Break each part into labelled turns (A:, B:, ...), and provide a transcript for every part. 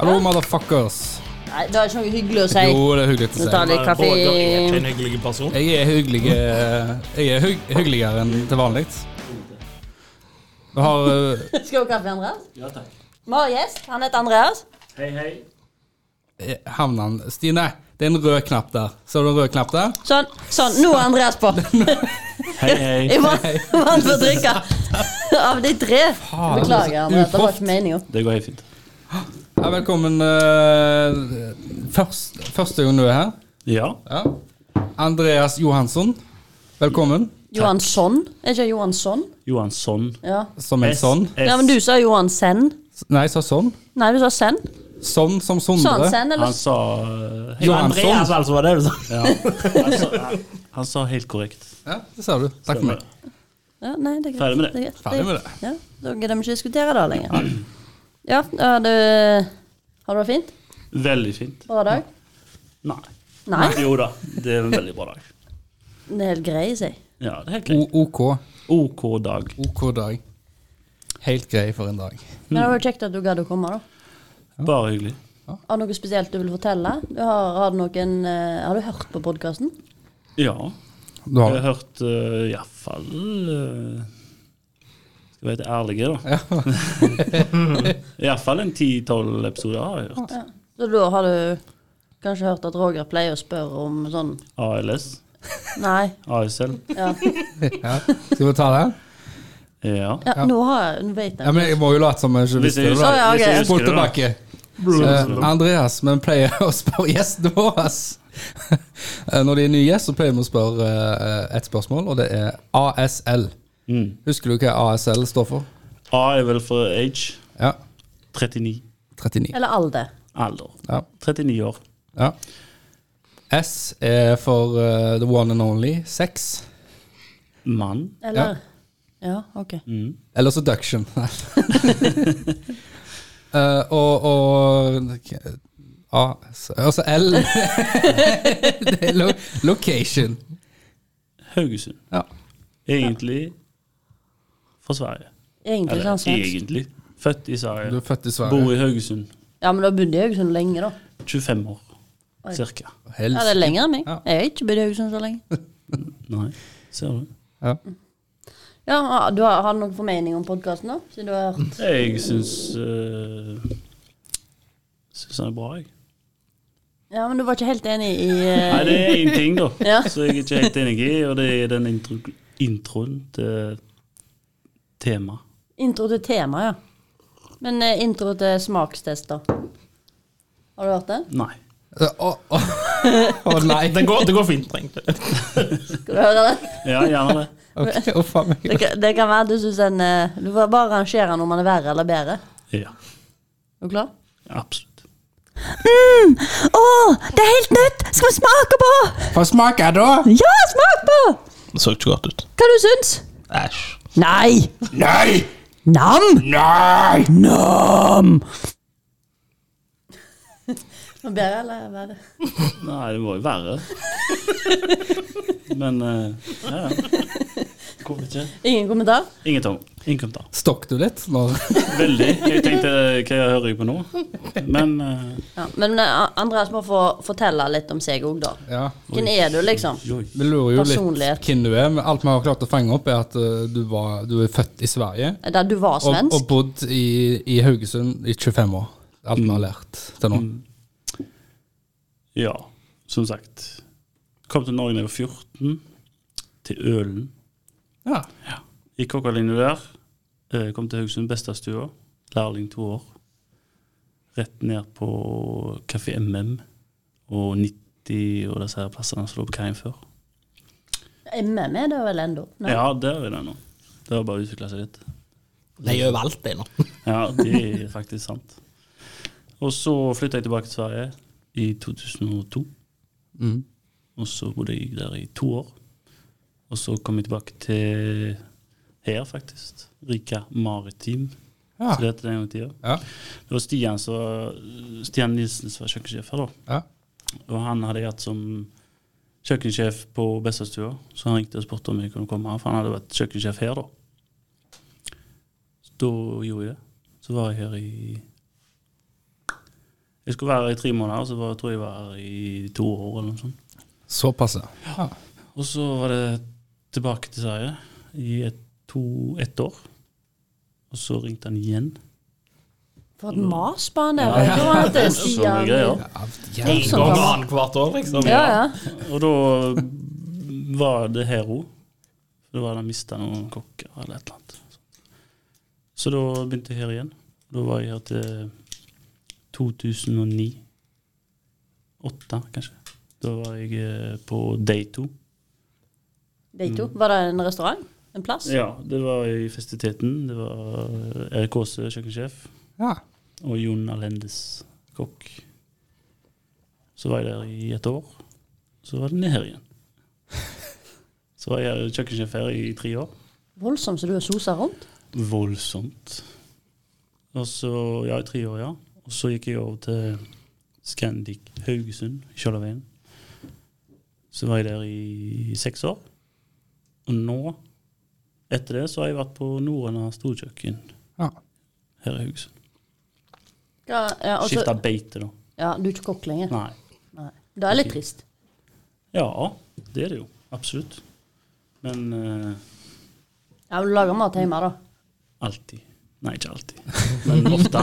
A: Hallo, motherfuckers.
B: Nei, det var ikke noe hyggelig å si.
A: Jo, det er hyggelig å
B: Nå
A: si.
B: tar litt kaffe.
C: Roger er ikke en hyggelig person.
A: Jeg er hyggelig eh, Jeg er hygg, hyggeligere enn til vanlig. Vi har eh,
B: Skal du ha kaffe, Andreas?
D: Ja takk.
B: Vi har gjest. Han heter Andreas.
D: Hei, hei.
A: Havnan Stine, det er en rød knapp der. Ser du en rød knapp der?
B: Sånn. sånn, Nå er Andreas på.
D: Hei, hei.
B: Jeg vant vant for å drikke av de tre.
A: Faen,
B: Beklager, Andreas. Det var ikke meninga.
D: Det går helt fint.
A: Ja, velkommen eh, først, Første gang du er her.
D: Ja.
A: Ja. Andreas Johansson, velkommen.
B: Johansson? Er ikke Johansson?
D: Johansson.
B: Ja.
A: Som en sånn.
D: S-
B: ja, men du sa Johansen.
A: Nei, jeg sa sånn.
B: Nei, du sa Sen.
A: Sånn som
B: Sånn,
A: Sondre.
B: Sen, eller
D: Han sa
A: Johansson.
C: Andreas, altså, var det du sa?
D: ja. han, sa han, han sa helt korrekt.
A: Ja, det sa du. Takk for meg.
B: ja, Nei, det er greit.
D: Ferdig med det.
B: er greit.
A: Ferdig med det.
B: Ja, Da gidder vi ikke diskutere det lenger. Ja, ja du Har du det fint?
D: Veldig fint.
B: Bra dag?
D: Nei.
B: Nei?
D: Jo da, det er en veldig bra dag.
B: Det er helt grei, sier jeg.
D: Ja, det er helt greit.
A: O- OK.
D: OK dag.
A: OK dag. Helt grei for en dag.
B: Men det var jo kjekt at du gadd å komme, da.
D: Bare hyggelig.
B: Har du noe spesielt du vil fortelle? Du har, har, du noen, eh, har du hørt på podkasten?
D: Ja.
A: Du
D: Jeg
A: har
D: har hørt uh, iallfall uh, Skal vi være ærlige, da. Iallfall en ti-tolv episoder har jeg hørt.
B: Så da har du kanskje hørt at Roger pleier å spørre om sånn
D: ALS.
B: Nei.
D: ASL.
B: Ja,
A: ja. Skal vi ta den?
D: Ja.
B: ja nå har jeg Nå vet
A: Ja,
B: jeg.
A: men Jeg må jo late som jeg ikke
D: Hvis
A: visste
D: jeg
A: det.
D: husker,
A: da.
B: ja,
D: hvis
B: ok.
D: jeg
A: Spol
D: husker det, da.
A: tilbake. Eh, Andreas, vi pleier å spørre gjestene våre Eh, Når de er nye gjest, så pleier vi å spørre eh, et spørsmål, og det er ASL.
D: Mm.
A: Husker du hva ASL står for?
D: A er vel for age.
A: Ja.
D: 39.
A: 39.
B: Eller alder.
D: Alder.
A: Ja.
D: 39 år.
A: ja. S er for eh, the one and only. Sex.
D: Mann.
B: Eller Ja, OK.
D: Mm.
A: Eller seduction. Eh, og, og A, s- Altså L Det er lo, Location.
D: Haugesund.
A: Ja.
D: Egentlig fra Sverige.
B: Egentlig
D: Eller
B: sånn svensk.
D: egentlig. Født i
A: Du
D: Sverige.
A: er født i
D: Bor
A: Sverige.
D: i Haugesund.
B: Ja, men du har bodd i Haugesund sånn lenge, da.
D: 25 år. Cirka.
B: Ja, det er
A: Helst.
B: lenger enn meg.
A: Ja.
B: Jeg har ikke bodd i Haugesund så lenge.
D: Nei, ser du.
A: Ja.
B: Ja, ah, du har, har du noen formening om podkasten, da? Siden du har hørt
D: Jeg syns øh, Syns han er bra, jeg.
B: Ja, men du var ikke helt enig i
D: Nei,
B: eh,
D: det er én ting, da,
B: Ja.
D: som jeg ikke er helt enig i, og det er den intro, introen til temaet.
B: intro til tema, ja. Men eh, intro til smakstester. Har du hørt den?
D: Nei.
A: Å å- å nei.
C: Det går, det går fint, egentlig.
B: Skal du høre den?
D: Ja, gjerne det.
A: Ok, å faen meg.
B: Det kan, det kan være du syns en eh, Du får bare rangere den om den er verre eller bedre.
D: Ja,
B: Er du klar?
D: absolutt.
B: Å, det er helt nytt! Skal vi smake på?
A: Få smake, da.
B: Ja, smak på!
C: Det så ikke godt ut.
B: Hva du syns?
C: Æsj.
B: Nei!
A: Nei!
B: Nam!
A: Nei!
B: Nam! Bedre eller verre?
D: Nei, det var jo verre. Men eh, ja, ja. Hvorfor ikke?
B: Ingen kommentar?
D: Ingen tom. Ingen kommentar.
A: Stokk du litt? Når,
D: Veldig. Jeg tenkte hva jeg hører jeg på nå? Men eh,
B: Ja, men eh, Andreas må få fortelle litt om seg òg, da.
A: ja.
B: Hvem er du, liksom?
D: joi.
A: Vi lurer jo
B: Personlighet.
A: litt hvem du er, men alt vi har klart å fange opp, er at eh, du, var, du er født i Sverige.
B: Der du var
A: Og, og
B: svensk?
A: bodd i, i Haugesund i 25 år. Alt vi har lært til nå.
D: Ja, som sagt. Kom til Norge da jeg var 14. Til Ølen.
A: Ja.
D: I kokkalinja der. eh, Kom til Haugesund, Bestadstua. Lærling to år. Rett ned på Kafé MM og 90 og disse her plassene som lå på kaien før.
B: MM er det vel ennå? Nei.
D: Ja, der er det nå. Det har bare utvikla seg litt.
C: Det gjør jo alt, det nå.
D: Ja, det er faktisk sant. Og så flytta jeg tilbake til Sverige i 2002.
A: Mm.
D: Og så bodde jeg der i to år. Og så kom jeg tilbake til her, faktisk. Rika Maritim.
A: Ja.
D: Så det het det en gang i tida.
A: Ja.
D: Det var Stian, som- Stian Nilsen som var kjøkkensjef her, da.
A: Ja.
D: Og han hadde jeg hatt som kjøkkensjef på Bestadstua. Så han ringte og spurte om jeg kunne komme her, for han hadde vært kjøkkensjef her, da. Så da gjorde jeg det. Så var jeg her i Jeg skulle være her i tre måneder, så var, tror jeg jeg var her i to år eller noe sånt.
A: Såpass, ja.
D: Og så var det tilbake til Sverige i et, to, ett år. Og så ringte han igjen.
B: For et mas på han der. Da var det til
D: Sånne
B: Stian.
D: greier.
A: ja.
B: Sånn
C: Sånn
B: gammel.
C: annethvert år, liksom.
B: Ja, ja.
D: Og da var det Hero. Da var det mista noen kokker eller et eller annet. Så da begynte jeg her igjen. Da var jeg her til 2009. Åtte, kanskje. Da var jeg eh, på day to.
B: De to. Var det en restaurant? En plass?
D: Mm. Ja, det var i festiviteten. Det var eh, Erik Aase, kjøkkensjef,
A: ja.
D: og Jon Alendes, kokk. Så var jeg der i et år. Så var det ned her igjen. Så var jeg kjøkkensjef her i tre år.
B: Voldsomt som du har sosa rundt.
D: Voldsomt. Og så, ja, i tre år, ja. Og så gikk jeg over til Scandic Haugesund, i Kjøllerveien. Så var jeg der i seks år. Og nå, etter det, så har jeg vært på Norrøna storkjøkken
A: ja.
D: her i Haugesund.
B: Ja, ja, altså- og så-
D: Skifta beite, da.
B: ja, du er ikke kokk lenger.
D: Nei.
B: Nei. Det er litt trist.
D: Ja, det er det jo. Absolutt. Men eh,
B: Ja, men Du lager mat hjemme, da.
D: alltid. Nei, ikke alltid. Men ofte.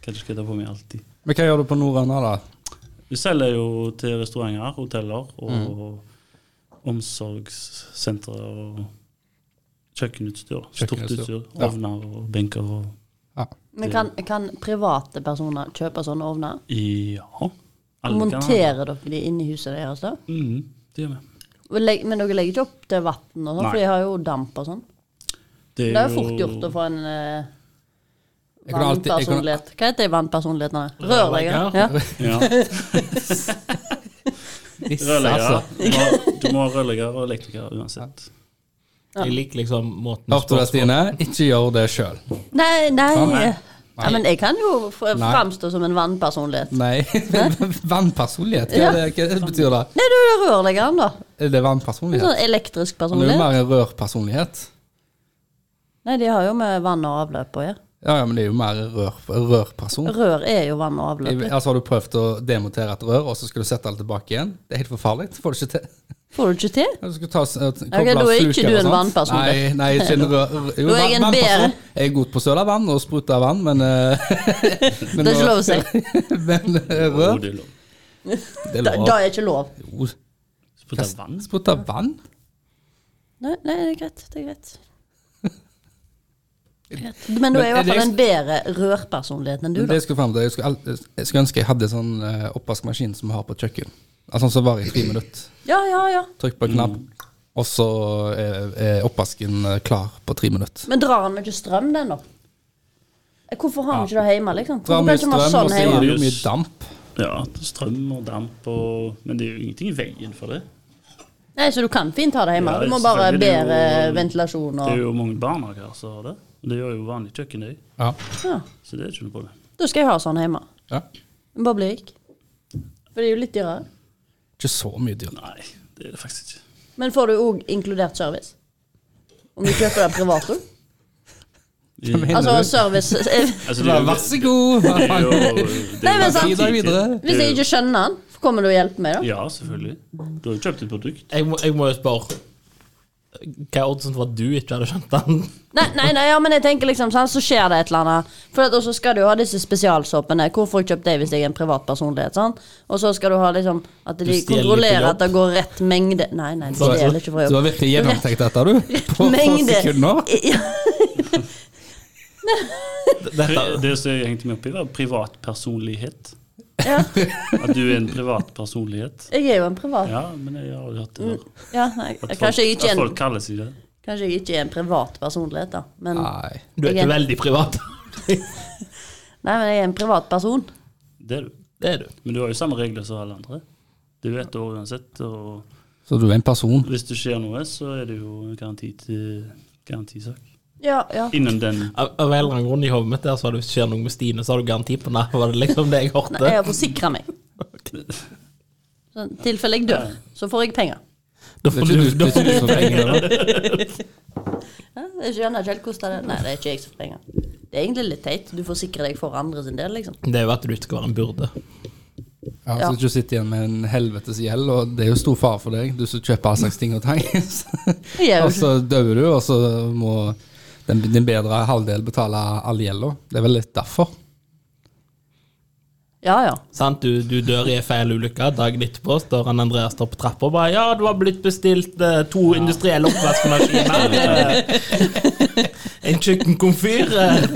D: Kanskje skal jeg ta på meg alltid.
A: Men hva gjør du på Norrøna, da?
D: Vi selger jo til restauranter, hoteller
A: Mm.
D: og omsorgssentre og kjøkkenutstyr. Stort
A: Kjøkkenutstyr,
D: utstyr.
A: ja.
D: Ovner og benker og
A: Ja.
B: Men kan, kan private personer kjøpe sånne ovner?
D: Ja.
B: Monterer dere de inn i huset deres da?
D: Mm, det gjør vi.
B: Og legg- Men dere legger ikke opp til vann og sånn,
D: Nei.
B: for de har jo damp og sånn. Det er jo fort gjort å få en eh,
A: Jeg kunne alltid- jeg kunne-
B: vannpersonlighet. Hva heter de vannpersonlighetene? Rørlegger. Ja.
D: ja.
A: altså.
D: Rørlegger. Du må- Du må ha rørlegger og elektriker uansett.
C: Jeg liker liksom måten
A: Hørte du det,
C: spørsmål-
A: Stine? Ikke gjør det sjøl.
B: Nei, nei.
A: nei.
B: Ja, men jeg kan jo f-
A: Nei.
B: framstå som en vannpersonlighet.
A: Nei. vannpersonlighet, hva,
B: Ja.
A: er det, hva er det betyr det?
B: Nei, du er rørleggeren, da.
A: Er det
B: En
A: vannpersonlighet?
B: sånn elektrisk
A: Han er jo
B: personlighet.
A: mer en rørpersonlighet.
B: Nei, de har jo med vann og avløp å gjøre.
A: Ja, ja, men det er jo mer en rør, rørperson.
B: Rør er jo vann og avløp.
A: Altså Har du prøvd å demontere et rør, og så skal du sette det tilbake igjen? Det er helt forferdelig. Får du ikke til.
B: Får du ikke til?
A: Du skal ta, s- eh, koble
B: da er
A: av
B: ikke
A: sluker
B: du
A: og
B: en
A: sånt.
B: vannperson,
A: Nei, nei ikke en rør... rør- Jo,
B: Da er jeg en
A: vann- vannperson.
B: bedre.
A: Jeg er god på å søle vann og sprute av vann, men, eh, men
B: Det er ikke lov å si.
A: Men eh,
D: Og
A: rør
D: det er lov.
A: Oh, Det er
B: Da, da
A: lov.
B: er det ikke lov.
A: Jo,
D: Sprutte vann.
A: Sprute av vann?
B: Nei, nei, det er greit. Det er greit. Det er greit. Men
A: Men
B: du er i
A: er
B: hvert
A: det-
B: fall en bedre rørpersonlighet enn du,
A: Det
B: da.
A: jeg skulle frem til, jeg skulle, al- jeg skulle ønske jeg hadde sånn eh, oppvaskmaskin som vi har på et kjøkken. Altså sånn som varer i tre minutter.
B: Ja, ja, ja.
A: Trykk på en knapp, og så er, er oppvasken eh, klar på tre minutter.
B: Men drar han ikke strøm, den, da? Eh, Hvorfor har han ikke det hjemme, liksom?
A: Drar
B: Hvorfor
A: mye
B: kan ikke
A: strøm,
B: man ha
A: og
B: sånn
A: så er
B: hjemme?
A: det jo mye damp.
D: Ja, strøm og damp og Men det er jo ingenting i veien for det.
B: Nei, så du kan fint ha det hjemme.
D: Ja,
B: Du må bare
D: selvfølgelig, det er
B: bedre
D: jo-
B: ventilasjon
D: Det er
B: og
D: jo mange barnehager som har det. Det gjør jo vanlig kjøkken, det.
A: Ja.
B: ja.
D: Så det er ikke noe problem.
B: Da skal jeg ha sånn hjemme.
A: ja.
B: Den Bare blir rik. For det er jo litt dyrere.
A: Ikke så mye dyr.
D: Nei, det er det faktisk ikke.
B: Men får du òg inkludert service? Om du kjøper det privat òg?
A: Hva mener
B: Altså
A: du?
B: service eh,
D: Altså,
A: Ja, Vær så god!
D: Det er jo, det
B: Nei, men sant.
A: Gi deg videre.
B: Hvis jeg ikke skjønner den, kommer du og hjelper meg, da?
D: Ja, selvfølgelig. Du har jo kjøpt et produkt.
C: Jeg, må, jeg må jo spørre Hva er oddsen for at du ikke hadde skjønt den?
B: Nei, nei, nei, ja, men jeg tenker liksom sånn, så skjer det et eller annet. For at også skal du jo ha disse spesialsåpene. Hvorfor har jeg kjøpt det hvis jeg er en privat personlighet? sånn? Og så skal du ha liksom at de
C: stjeler på
B: kontrollerer
C: jobb.
B: at det går rett mengde Nei, nei, det er ikke fra
A: Du
B: jobb.
A: har virkelig gjennomtenkt dette, du. På få sekunder.
B: Ja,
C: Dette,
D: Det som jeg hengte meg opp i, var privatpersonlighet.
B: ja.
D: At du er en privatpersonlighet.
B: Jeg er jo en privat.
D: Ja, men jeg har jo hørt det der.
B: Ja, nei,
D: At
B: kanskje, Mm. jeg
D: folk,
B: ikke er
D: at
B: en,
D: folk kaller seg det.
B: kanskje jeg ikke er en privat personlighet, da. Men, nei,
A: Nei.
C: du er
B: Jeg
C: ikke
B: er-
C: veldig privat.
B: men jeg er en privat person.
D: Det er du.
C: Det er du.
D: Men du har jo samme regler som alle andre. Du vet det uansett. Og
A: Så du er en person.
D: hvis det skjer noe, så er det jo en garanti til garantisak.
B: Ja, ja.
D: Innen den
C: Av av en eller annen grunn i hodet mitt der, så har du skjer noe med Stine, så har du garanti på det. Var det liksom det jeg
B: Nei, jeg
C: hørte?
B: har forsikra meg. Så i tilfelle jeg dør, så får jeg penger.
C: Da
A: Det er
C: får du,
A: ikke du,
C: da
A: det er
C: får
A: ikke
C: du
A: du som trenger det.
B: Ja, Jeg skjønner ikke helt hvordan det er. Nei, det er ikke jeg som får penger. Det er egentlig litt teit. Du forsikrer deg for andre sin del, liksom.
C: Det er jo at du ikke skal være en byrde.
A: Ja,
B: Ja.
A: Så ikke du sitter igjen med en helvetes gjeld, og det er jo stor fare for deg, du som kjøper all slags ting og tang.
B: Jeg er jo
A: og så dør du, og så må den, din bedre halvdel betale all gjelda. Det er vel litt derfor.
B: Ja, ja.
C: Sant? Du, du dør i en feil ulykke. Dagen etterpå står han Andreas der på trappa og bare 'Ja, du har blitt bestilt eh, to industrielle oppvaskmaskiner. eh, en kjøkkenkomfyr eh,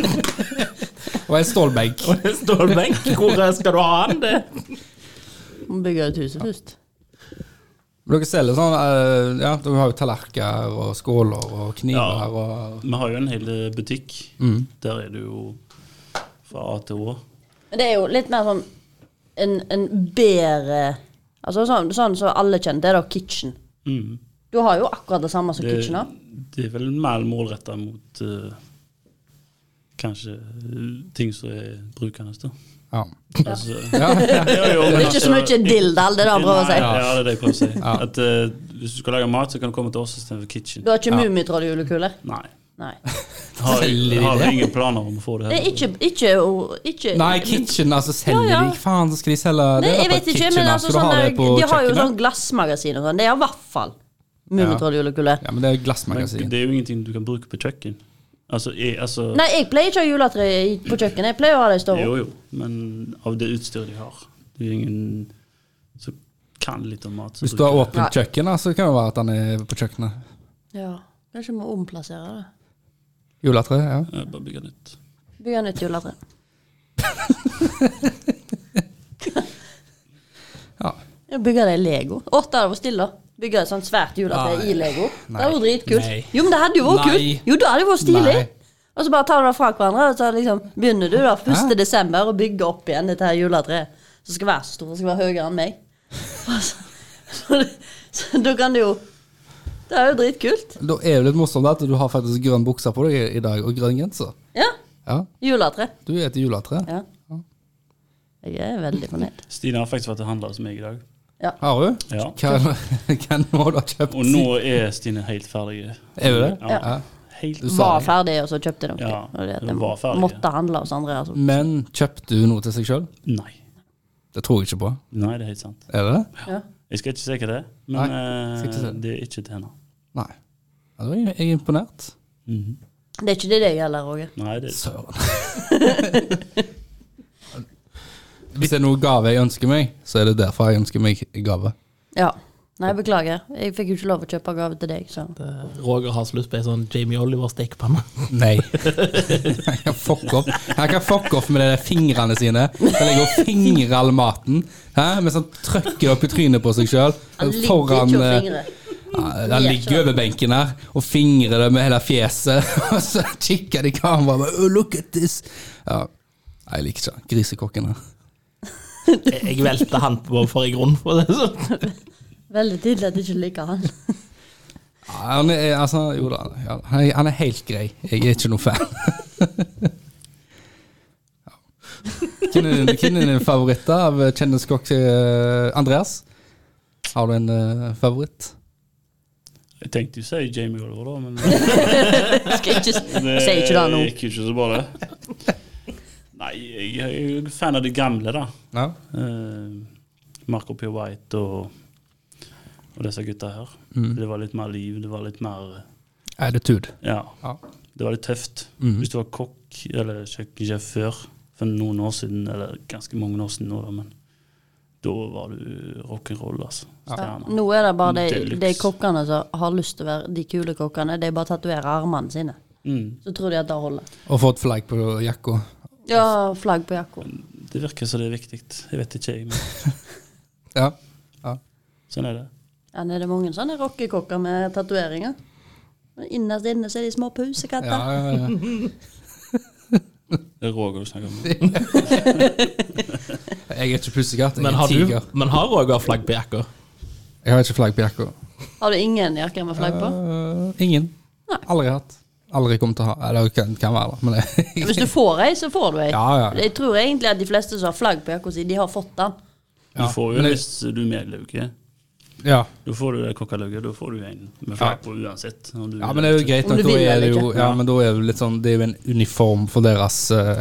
A: Og en stålbenk.
C: og en stålbenk. Hvor eh, skal du ha den? Det?
B: Må bygge ut huset først.
A: Men Dere selger sånn eh, Ja, dere har jo tallerkener og skåler og kniver
D: Ja.
A: og
D: Vi har jo en hel butikk.
B: Mm.
D: Der er det jo fra A til Å.
B: Men det er jo litt mer sånn en, en bedre Altså sånn, sånn som alle kjenner, det er da kitchen.
D: Mm.
B: Du har jo akkurat det samme som
D: Det,
B: kitchen har.
D: det er vel mer målretta mot eh, kanskje eh, ting som er brukende. Da.
A: Ja.
D: Altså,
A: ja, ja.
D: ja, jo,
B: Det
D: men
B: er ikke så
D: altså-
B: mye dildal, det er det han prøver å si.
D: Nei, Ja, det er det jeg prøver å si.
A: Ja.
D: At eh, Hvis du skal lage mat, så kan du komme til oss istedenfor kitchen.
B: Du har ikke Mummitroll-julekuler?
D: Nei.
B: Nei.
D: Har,
A: Selger de
D: har
A: det?
D: ingen planer om å få det
B: Det
D: her.
B: er ikke Ikke, ikke
A: Nei, kitchen, altså selger
B: Ja, ja.
A: de Faen, så skal de selge det
B: Nei,
A: da
B: jeg
A: på
B: vet ikke,
A: kitchen,
B: men
A: da.
B: altså,
A: Skal du
B: sånn
A: ha det
B: der-
A: på
B: de har jo
A: kjøkkenet?
B: sånn glassmagasin og sånn. Det er i hvert fall Mummitroll-julekule.
A: Ja, men det er jo
D: Men
A: glassmagasin.
D: det er jo ingenting du kan bruke på kjøkken. Altså, jeg, altså
B: Nei, jeg pleier ikke å ha juletre i- på kjøkkenet. Jeg pleier å ha det i stua.
D: Jo, jo. Men av det utstyret de har. Det er jo ingen som kan litt om mat. som
A: Hvis du har
D: bruker det.
B: Nei.
A: åpent kjøkken, da, så kan det være at han er på kjøkkenet.
B: Ja. Kanskje vi må omplassere det.
A: Juletre, ja.
D: Ja, Bare bygge nytt.
B: Bygge nytt juletre.
A: ja.
B: Ja, Bygge det i Lego. Å, det hadde vært stille. Bygge et sånt svært juletre
A: Nei.
B: i Lego. Det
A: Nei.
B: hadde vært dritkult.
C: Nei.
B: Jo, men det hadde jo vært
A: Nei.
B: kult. Jo, det hadde jo vært stilig.
A: Nei.
B: Og så bare tar du det fra hverandre, og så liksom begynner du da 1.
A: Hæ?
B: desember å bygge opp igjen dette her juletreet. Som skal være så stort, det skal være høyere enn meg. Og Så, så, så da kan du jo Det er jo dritkult.
A: Da er det litt morsomt at du har faktisk grønn bukse på deg i- i dag, og grønn genser.
B: Ja.
A: Ja,
B: Juletre.
A: du er et juletre.
B: Ja. Jeg er veldig fornøyd.
D: Stine har faktisk vært og handla hos meg i dag.
A: Har du?
D: Ja.
A: Hva, hva må du ha kjøpt?
D: Og nå er Stine helt ferdig.
A: Er du det?
D: Ja.
A: Ja.
D: Helt
A: Du sa
B: Var
A: det.
B: ferdig, og så kjøpte de.
D: Ja,
B: og det, at
D: de
B: de
D: var ferdige.
B: måtte handle hos andre. Altså.
A: Men kjøpte du noe til seg sjøl?
D: Nei.
A: Det tror jeg ikke på.
D: Nei, det er helt sant.
A: Er det det?
B: Ja.
D: Jeg skal ikke si hva det er, men
A: Nei, skal ikke si
D: eh,
A: det.
D: det er ikke til henne.
A: Nei. Ja, da er jeg jeg er imponert.
D: Mhm.
B: Det er ikke det deg heller, Roger.
D: Nei, det er
A: Søren. Hvis det er noe gave jeg ønsker meg, så er det derfor jeg ønsker meg gave.
B: Ja. Nei, beklager. Jeg fikk jo ikke lov å kjøpe gave til deg, så
C: Eh, Roger har så lyst på ei sånn Jamie Oliver-stekepanne.
A: Nei. Han kan fuck off Han kan fuck off med de der fingrene sine. Han ligger og fingrer all maten Hæ? mens han trykker opp i trynet på seg sjøl.
B: Han ligger
A: Foran
B: ikke og
A: eh,
B: fingrer.
A: ja, Han ligger over benken her og fingrer det med hele fjeset. Og så kikker de i kameraet og bare, oh, Look at this! Ja. Nei, Jeg liker ikke han. grisekokken her.
C: Jeg velter han på for i grunn for det. sånn. Så.
B: Veldig tydelig at jeg ikke liker han.
A: Ja, han er, altså, jo da, ja, han er- han er helt grei. Jeg er ikke noe fan. Ja. Hvem er din- hvem er din favoritt da, av kjendiskokk eh, Andreas? Har du en eh, favoritt?
D: Jeg tenkte jo å si Jamie Oliver, da, men
B: Skal ikke, si ikke det nå.
D: gikk jo ikke så bra, det. Nei, jeg er jo fan av det gamle, da.
A: Ja.
D: Eh, Marco P. White og, og disse gutta her.
A: Mm.
D: Det var litt mer liv, det var litt mer
A: Attitude.
D: Ja,
A: Ja.
D: det var litt tøft.
A: Mhm.
D: Hvis du var kokk eller kjøkkensjef før, for noen år siden, eller ganske mange år siden nå, da, men da var du rock'n'roll, altså.
B: Ja,
D: Stjerne.
B: nå er det bare de,
D: Deluxe.
B: de kokkene som har lyst til å være de kule kokkene. De bare tatoverer armene sine.
D: Mm.
B: Så tror de at det holder.
A: Og fått flagg på jakka.
B: Ja, flagg på jakka.
D: Det virker som det er viktig. Jeg vet ikke, jeg, men
A: Ja.
D: sånn er det.
B: Ja, nå er det mange sånne rockekokker med tatoveringer. Men Innerst inne så er de små pusekatter.
A: Ja, ja, ja.
D: Det er Roger du snakker om.
A: Jeg er ikke pussekatt, jeg
C: Men
A: er
C: har, du,
A: tiger.
C: men har Roger flagg på jakka?
A: Jeg har ikke flagg på jakka.
B: Har du ingen jakker med flagg på?
A: Eh, ingen.
B: Nei.
A: Aldri hatt. Aldri kommet til å ha. Eller kan, kan være, da. Men jeg,
B: Hvis du får ei, så får du ei.
A: ja, ja.
B: Jeg tror egentlig at de fleste som har flagg på jakka si, de har fått den.
D: Du får jo
A: men jeg-
D: hvis du er medlauke.
A: Ja.
D: Da får du det kokkaløket. Da får du en med
A: Ja.
D: flak på uansett. om du
A: ja,
D: vil.
A: men det er jo greit
B: Om
A: nok.
B: du
A: Da
B: vil
A: er det
B: eller
A: jo,
B: ikke.
A: ja, men da er det jo litt sånn Det er jo en uniform for deres eh,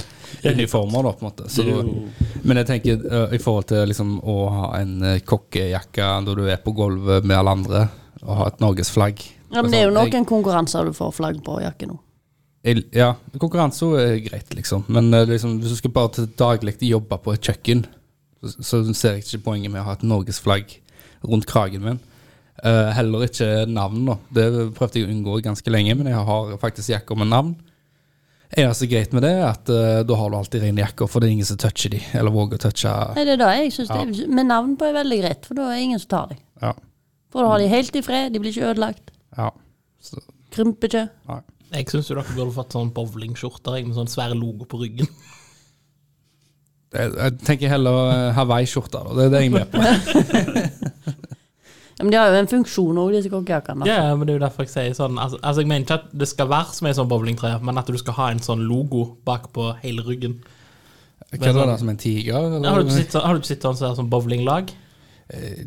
A: uniformer, da, på en måte. Så,
D: Det er jo-
A: men jeg tenker eh, i forhold til liksom å ha en eh, kokkejakke når du er på gulvet med alle andre, og ha et norgesflagg
B: Ja, men det er jo
A: Sånn, jeg-
B: noen konkurranser du får flagg på jakke nå.
A: Jeg- Ja, konkurranse er greit, liksom. Men eh, liksom, hvis du skal bare til daglig jobbe på et kjøkken, så, så ser jeg ikke poenget med å ha et norgesflagg rundt kragen min. Eh, heller ikke navn, da. Det prøvde jeg å unngå ganske lenge, men jeg har faktisk jakker med navn. Eneste greit med det er at eh, da har du alltid rene jakker, for det er ingen som toucher de, eller våger å touche.
B: Nei, det er det jeg synes det er, Med navn på er veldig greit, for da er det ingen som tar dem.
A: Ja.
B: For da har de helt i fred, de blir ikke ødelagt.
A: ja. Så,
B: Krymper ikke.
A: nei.
C: Jeg syns dere burde fått sånn bowlingskjorter jeg, med sånn svære logo på ryggen.
A: Jeg, jeg tenker heller eh, Hawaii-skjorter, da. Det er det jeg er med på.
B: Ja, men de har jo en funksjon òg, disse kokkejakkene.
C: Ja, men det er jo derfor jeg sier sånn altså, altså, jeg mener ikke at det skal være som en sånn bowlingtre, men at du skal ha en sånn logo bak på hele ryggen.
A: Hva er det da, som en tiger? eller?
C: Ja, har du ikke sett sånn, har du ikke sett sånn som er sånn bowlinglag?
A: Eh,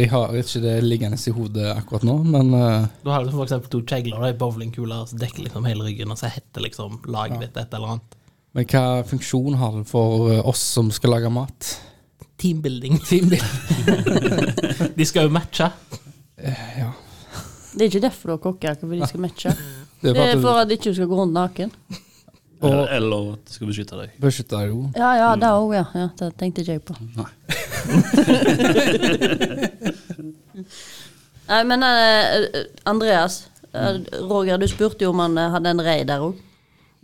A: Jeg har ikke det liggende i hodet akkurat nå, men eh,
C: Da har du liksom for eksempel to kjegler og ei bowlingkule som dekker liksom hele ryggen, og så heter liksom laget ditt et eller annet.
A: Men hva funksjon har det for eh, oss som skal lage mat?
C: Teambuilding.
A: Teambuilding.
C: De skal jo matche.
A: Ja.
B: Det er ikke derfor du har kokkejakke, for de skal matche.
A: Det er
B: Det
A: bare
B: er
A: at
B: for at du ikke skal gå rundt naken.
D: Eller, eller at det skal beskytte deg.
A: du beskytter deg jo.
B: Ja, ja, det òg, ja. ja. Det tenkte ikke jeg på.
D: Nei.
B: Nei, men eh, Andreas, eh, Roger, du spurte jo om han eh, hadde en rei der òg.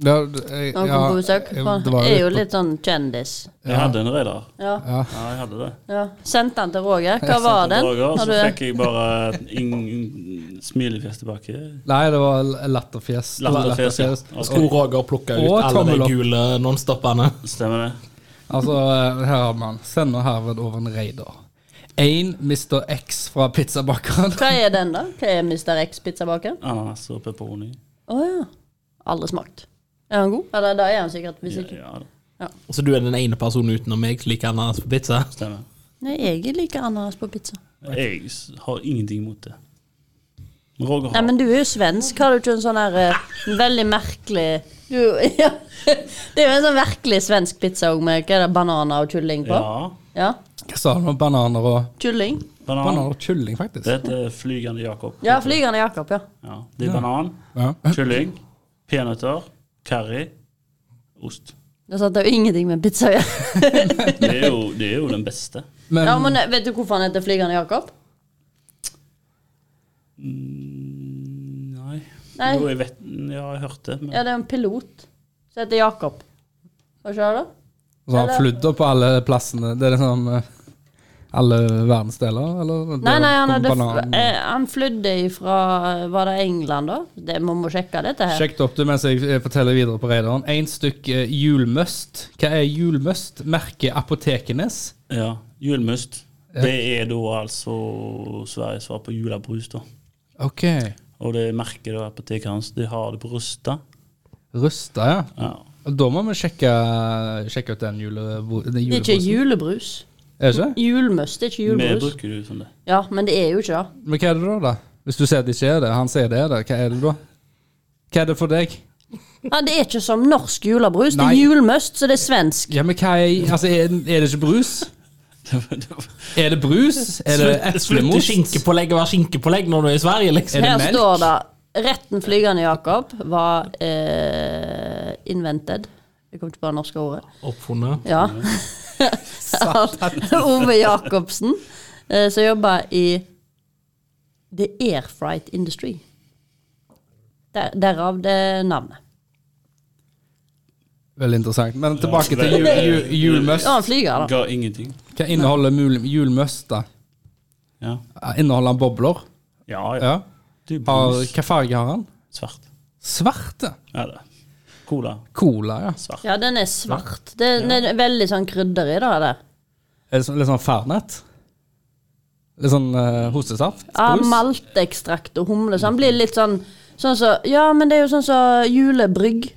A: Ja, det- jeg-
B: Han kom
A: ja,
B: på besøk.
A: jeg-
B: Han
A: det var
B: er jo
A: på-
B: litt sånn kjendis.
D: Jeg hadde en radar.
B: Ja.
A: ja.
D: Ja, jeg hadde det.
B: ja. Sendte han til Roger. Hva var den?
D: Dager,
B: Har
D: så
B: du-
D: fikk jeg bare ingen smilefjes tilbake.
A: Nei, det var l- latterfjes. Det var
D: Latterfjes, ja.
A: latterfjes.
D: Og-
C: Skulle Roger plukke ut
A: Og
C: alle
A: tommel opp.
C: de gule nonstoppene?
D: Stemmer det?
A: Altså, eh, her har man sender herved over en raider. Én Mr. X fra pizzabakeren.
B: Hva er den, da? Hva er Mr. X-pizzabaker?
D: Ananas og pepperoni.
B: Å ja. Aldri smakt. Er han god? Eller da er han sikkert, hvis
D: Ja,
B: ikke.
D: ja da.
C: Så du er den ene personen utenom meg som liker ananas på pizza?
D: Stemmer.
B: Nei, jeg liker ananas på pizza.
D: Jeg s- har ingenting imot det. Men Roger
B: Nei,
D: har
B: men du er jo svensk. Har du ikke en sånn her eh, veldig merkelig du, ja. Det er jo en sånn virkelig svensk pizza òg, med hva er det, bananer og kylling på?
D: Ja.
B: Ja.
A: Hva sa han om bananer og
B: Kylling.
D: Banan.
A: Bananer og kylling,
D: Det
A: faktisk?
D: heter Flygende Jakob.
B: Ja, flygende Jakob, ja.
D: Ja. Det er banan,
A: Ja.
D: kylling, peanøtter, curry, ost.
B: Det satt jo ingenting med pizza å gjøre.
D: Det er jo, det er jo den beste.
A: Men,
B: Ja, men eh, vet du hvorfor han heter Flygende Jakob?
D: Mm, Nei.
B: Nei.
D: Jo, jeg vet Ja, jeg hørte det, men
B: Ja, det er en pilot som heter Jakob. Hva skjer da?
A: så han
B: eller-
A: flydde på alle plassene. Det er liksom eh, alle verdensdeler, eller?
B: Nei, nei, han, hadde,
A: Banan-
B: eh, han flydde ifra Var det England, da? Det, man må sjekke dette her.
A: Sjekk det opp du mens jeg eh, forteller videre på radaren. Én stykk eh, julmust. Hva er julmust? Merket Apotekenes.
D: Ja. Julmust. Det er da altså Sveriges svar på julebrus, da.
A: Ok.
D: Og det merket da apoteket hans, de har det på Rusta.
A: Rusta, ja.
D: Ja.
A: Og Da må vi sjekke, sjekke ut den julebrusen. Det
B: Det er ikke julebrus.
A: Er det ikke?
B: Julmust det er ikke
D: Vi
B: julebrus.
D: bruker det jo som det.
B: Ja, men det er jo ikke det.
A: Men hva er det da, da? Hvis du sier at det ikke er det, han sier det er det, hva er det da? Hva er det for deg?
B: Ja, det er ikke som norsk julebrus. Det
A: Nei.
B: er julmust, så det er svensk.
A: Ja, men hva er Altså, er, er det ikke brus? Er det brus? Er det
C: Slutt- Slutter
A: eplemost?
C: skinkepålegg å være skinkepålegg når du er i Sverige, liksom?
A: det
B: Her
A: melk?
B: står det Retten flygende Jakob var eh, invented. Jeg kom ikke på det norske ordet.
C: Oppfunnet.
B: Ja. Ove Jacobsen, eh, som jobber i The Air Fright Industry. Der, derav det navnet.
A: Veldig interessant. Men tilbake til jul, jul, julmust.
B: Ja, han flyger, da.
D: Ga ingenting.
A: Hva inneholder mul, julmust, da?
D: Ja.
A: Inneholder han bobler?
D: Ja, ja.
A: Ja.
D: Du
A: Har,
D: brus.
A: hva farge har han?
D: Svart.
A: Svarte.
D: Ja, det. Cola.
A: Cola, ja.
D: Svart.
B: Ja, den er svart. Det, den er veldig sånn krydder i det der.
A: Er det sånn, litt sånn fernet? Litt sånn eh, hostesaft?
B: Ja,
A: Brus? Mm.
B: malteekstrakt og humle. Så han blir litt sånn Sånn så, Ja, men det er jo sånn som julebrygg.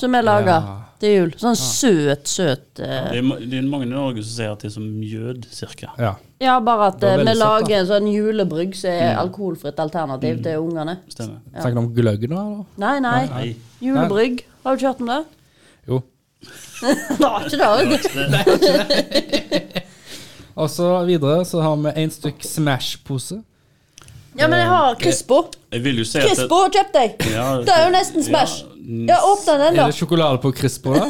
B: som vi lager
A: Ja.
B: til jul. Sånn søt, søt eh,
D: Det er, ma- det er mange i Norge som sier at det er som mjød, cirka.
A: Ja.
B: Ja, bare at
A: Det var
B: eh, vi
A: veldig søtt, Mm.
B: lager en sånn julebrygg som er alkoholfritt alternativ til ungene.
D: Stemmer.
A: Snakker du om gløgg nå, eller?
B: Nei, nei.
D: Nei.
B: Julebrygg. Har du ikke hørt om det?
A: Jo.
B: Nei, ikke det. vet du.
A: Og så videre så har vi en stykk Smash-pose.
B: Ja, men jeg har Crispo.
D: Jeg vil jo si at
B: Crispo har kjøpt deg!
D: Ja,
B: Det er jo nesten Smash.
D: Ja,
B: Ja, åpne den,
A: Er
B: da.
A: det sjokolade på Crispo, da?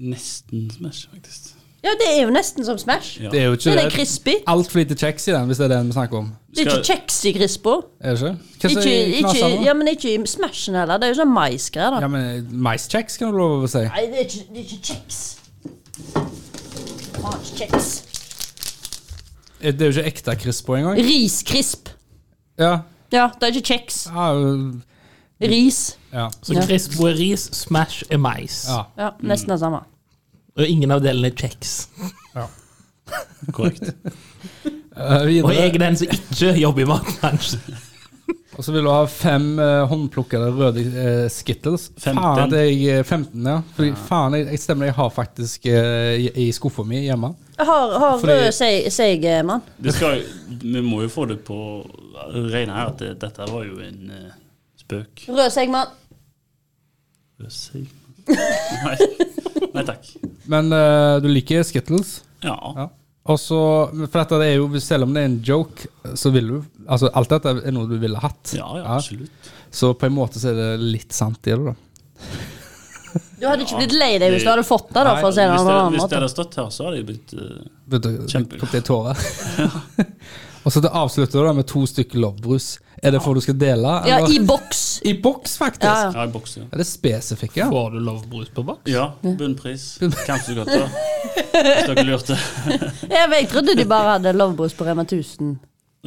D: Nesten Smash, faktisk.
B: Ja, det er jo nesten som Smash.
D: Ja.
A: Det er jo ikke
B: Den er
A: det.
B: crispy.
A: Altfor lite kjeks i den, hvis det er den vi snakker om.
B: Det er ikke kjeks i Crispo.
A: Er det ikke? Hva
B: Ikke,
A: sier
B: ikke,
A: knasene, da?
B: ja, men ikke i Smashen heller. Det er jo sånn maisgreier, da.
A: Ja, men maiskjeks kan du love å si.
B: Nei, det er ikke, det er ikke kjeks. Faen, ikke kjeks.
A: Det er jo ikke ekte Crispo engang.
B: Riskrisp.
A: Ja.
B: Ja, det er ikke kjeks.
A: Ja, jo.
B: Ris.
A: ja.
C: Så
B: Ja.
C: crispo er ris, smash er mais.
A: ja.
B: Ja,
D: Mm.
B: nesten det samme.
C: Og ingen av delene er kjeks.
D: Korrekt.
A: Eh,
C: Og jeg
A: videre.
C: er den som ikke jobber i matbransjen.
A: Og så vil du ha fem eh, håndplukkede røde eh, Skittles.
D: Femten.
A: Faen at jeg eh, 15, ja. Fordi faen, jeg, jeg stemmer, jeg har faktisk eh, i, i skuffa mi hjemme.
B: Jeg har, har
A: Fordi-
B: rød seig, seig eh, mann.
D: Det skal, vi må jo få det på rene her at det, dette var jo en eh, spøk.
B: Rød seig mann.
D: Nei. Nei takk.
A: Men eh, du liker Skittles?
D: Ja.
A: Ja. Og så, for dette er jo, Selv om det er en joke, så vil du altså Alt dette er noe du ville hatt.
D: Ja, ja, absolutt.
A: Så på en måte så er det litt sant i det, da.
B: Du hadde ikke blitt lei deg hvis du hadde fått det, da, for å si det
D: hvis,
B: på
D: det,
B: en annen
D: hvis det
B: måte.
D: hadde stått her, så hadde jeg blitt eh,
A: Vet du,
D: Kjempe.
A: Kom til tårer. Og så det avslutter du da med to stykker lovbrus. Er det for du skal dele?
B: Ja,
A: eller?
B: i boks.
A: I boks, faktisk!
B: Ja, ja.
D: Ja, i boks, ja.
A: Er det spesifikke?
C: Får du lovbrus på boks?
D: Ja, bunnpris. Kanskje godt, da. Hvis dere lurte.
B: Jeg, vet, jeg trodde de bare hadde lovbrus på Rema 1000.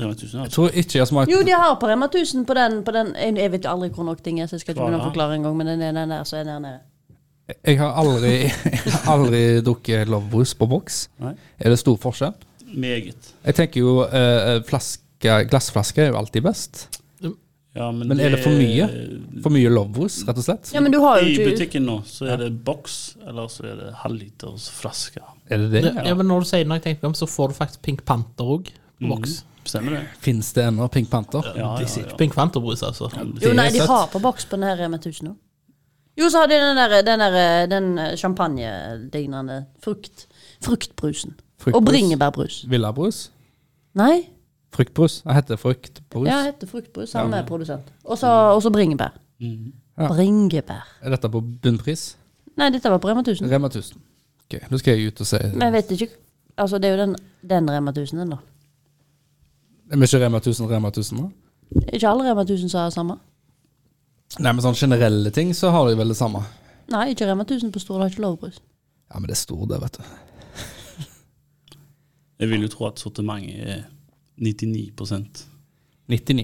D: Rema 1000 har
A: Jeg tror ikke jeg har smakt
B: Jo, de har på Rema 1000 på den, på den Jeg jeg vet jo aldri hvor nok ting er, så jeg skal ikke begynne å
D: Klara.
B: forklare engang, men den er den der, så er den der nede.
A: Jeg har aldri, jeg har aldri drukket lovbrus på boks.
D: Nei.
A: Er det stor forskjell?
D: meget.
A: Jeg tenker jo eh, flaske, glassflaske er jo alltid best.
D: Ja, men,
A: Men er det for mye? For mye lovbrus, rett og slett?
B: Ja, men du har
D: I
B: jo ikke
D: butikken nå så er det boks, eller så er det halvliters flasker.
A: Er det det?
C: Ja. men når du sier det, når jeg tenker meg om, så får du faktisk Pink Panther òg på boks.
D: Stemmer det?
A: Fins det ennå Pink Panther?
D: Mm. Ja,
C: De
D: ja,
C: sier
D: ja.
C: ikke Pink Panther-brus, altså.
B: Jo, nei,
A: Det
B: de
A: er
B: har på boks på den her Rema 1000 nå. Jo, så har de den der, den der den champagnelignende frukt, fruktbrusen.
A: Fruktbrus?
B: Og bringebærbrus.
A: Villabrus?
B: Nei?
A: Fruktbrus? Det heter fruktbrus.
B: Ja, heter fruktbrus. Samme produsent. Og så og så bringebær.
A: Ja.
B: Bringebær.
A: Er dette på bunnpris?
B: Nei, dette var på Rema 1000.
A: Rema 1000. Ok, Nå skal jeg ut og si
B: Men jeg vet ikke Altså, det er jo den, den Rema 1000 en, da.
A: Men ikke Rema 1000, Rema 1000, da?
B: Er Ikke alle Rema 1000 som har det samme?
A: Nei, men sånn generelle ting så har de vel det samme.
B: Nei, ikke Rema 1000 på Stord har ikke lovbrus.
A: Ja, men det er stor, det, vet du.
D: Jeg vil jo tro at sortimentet er 99
A: 99.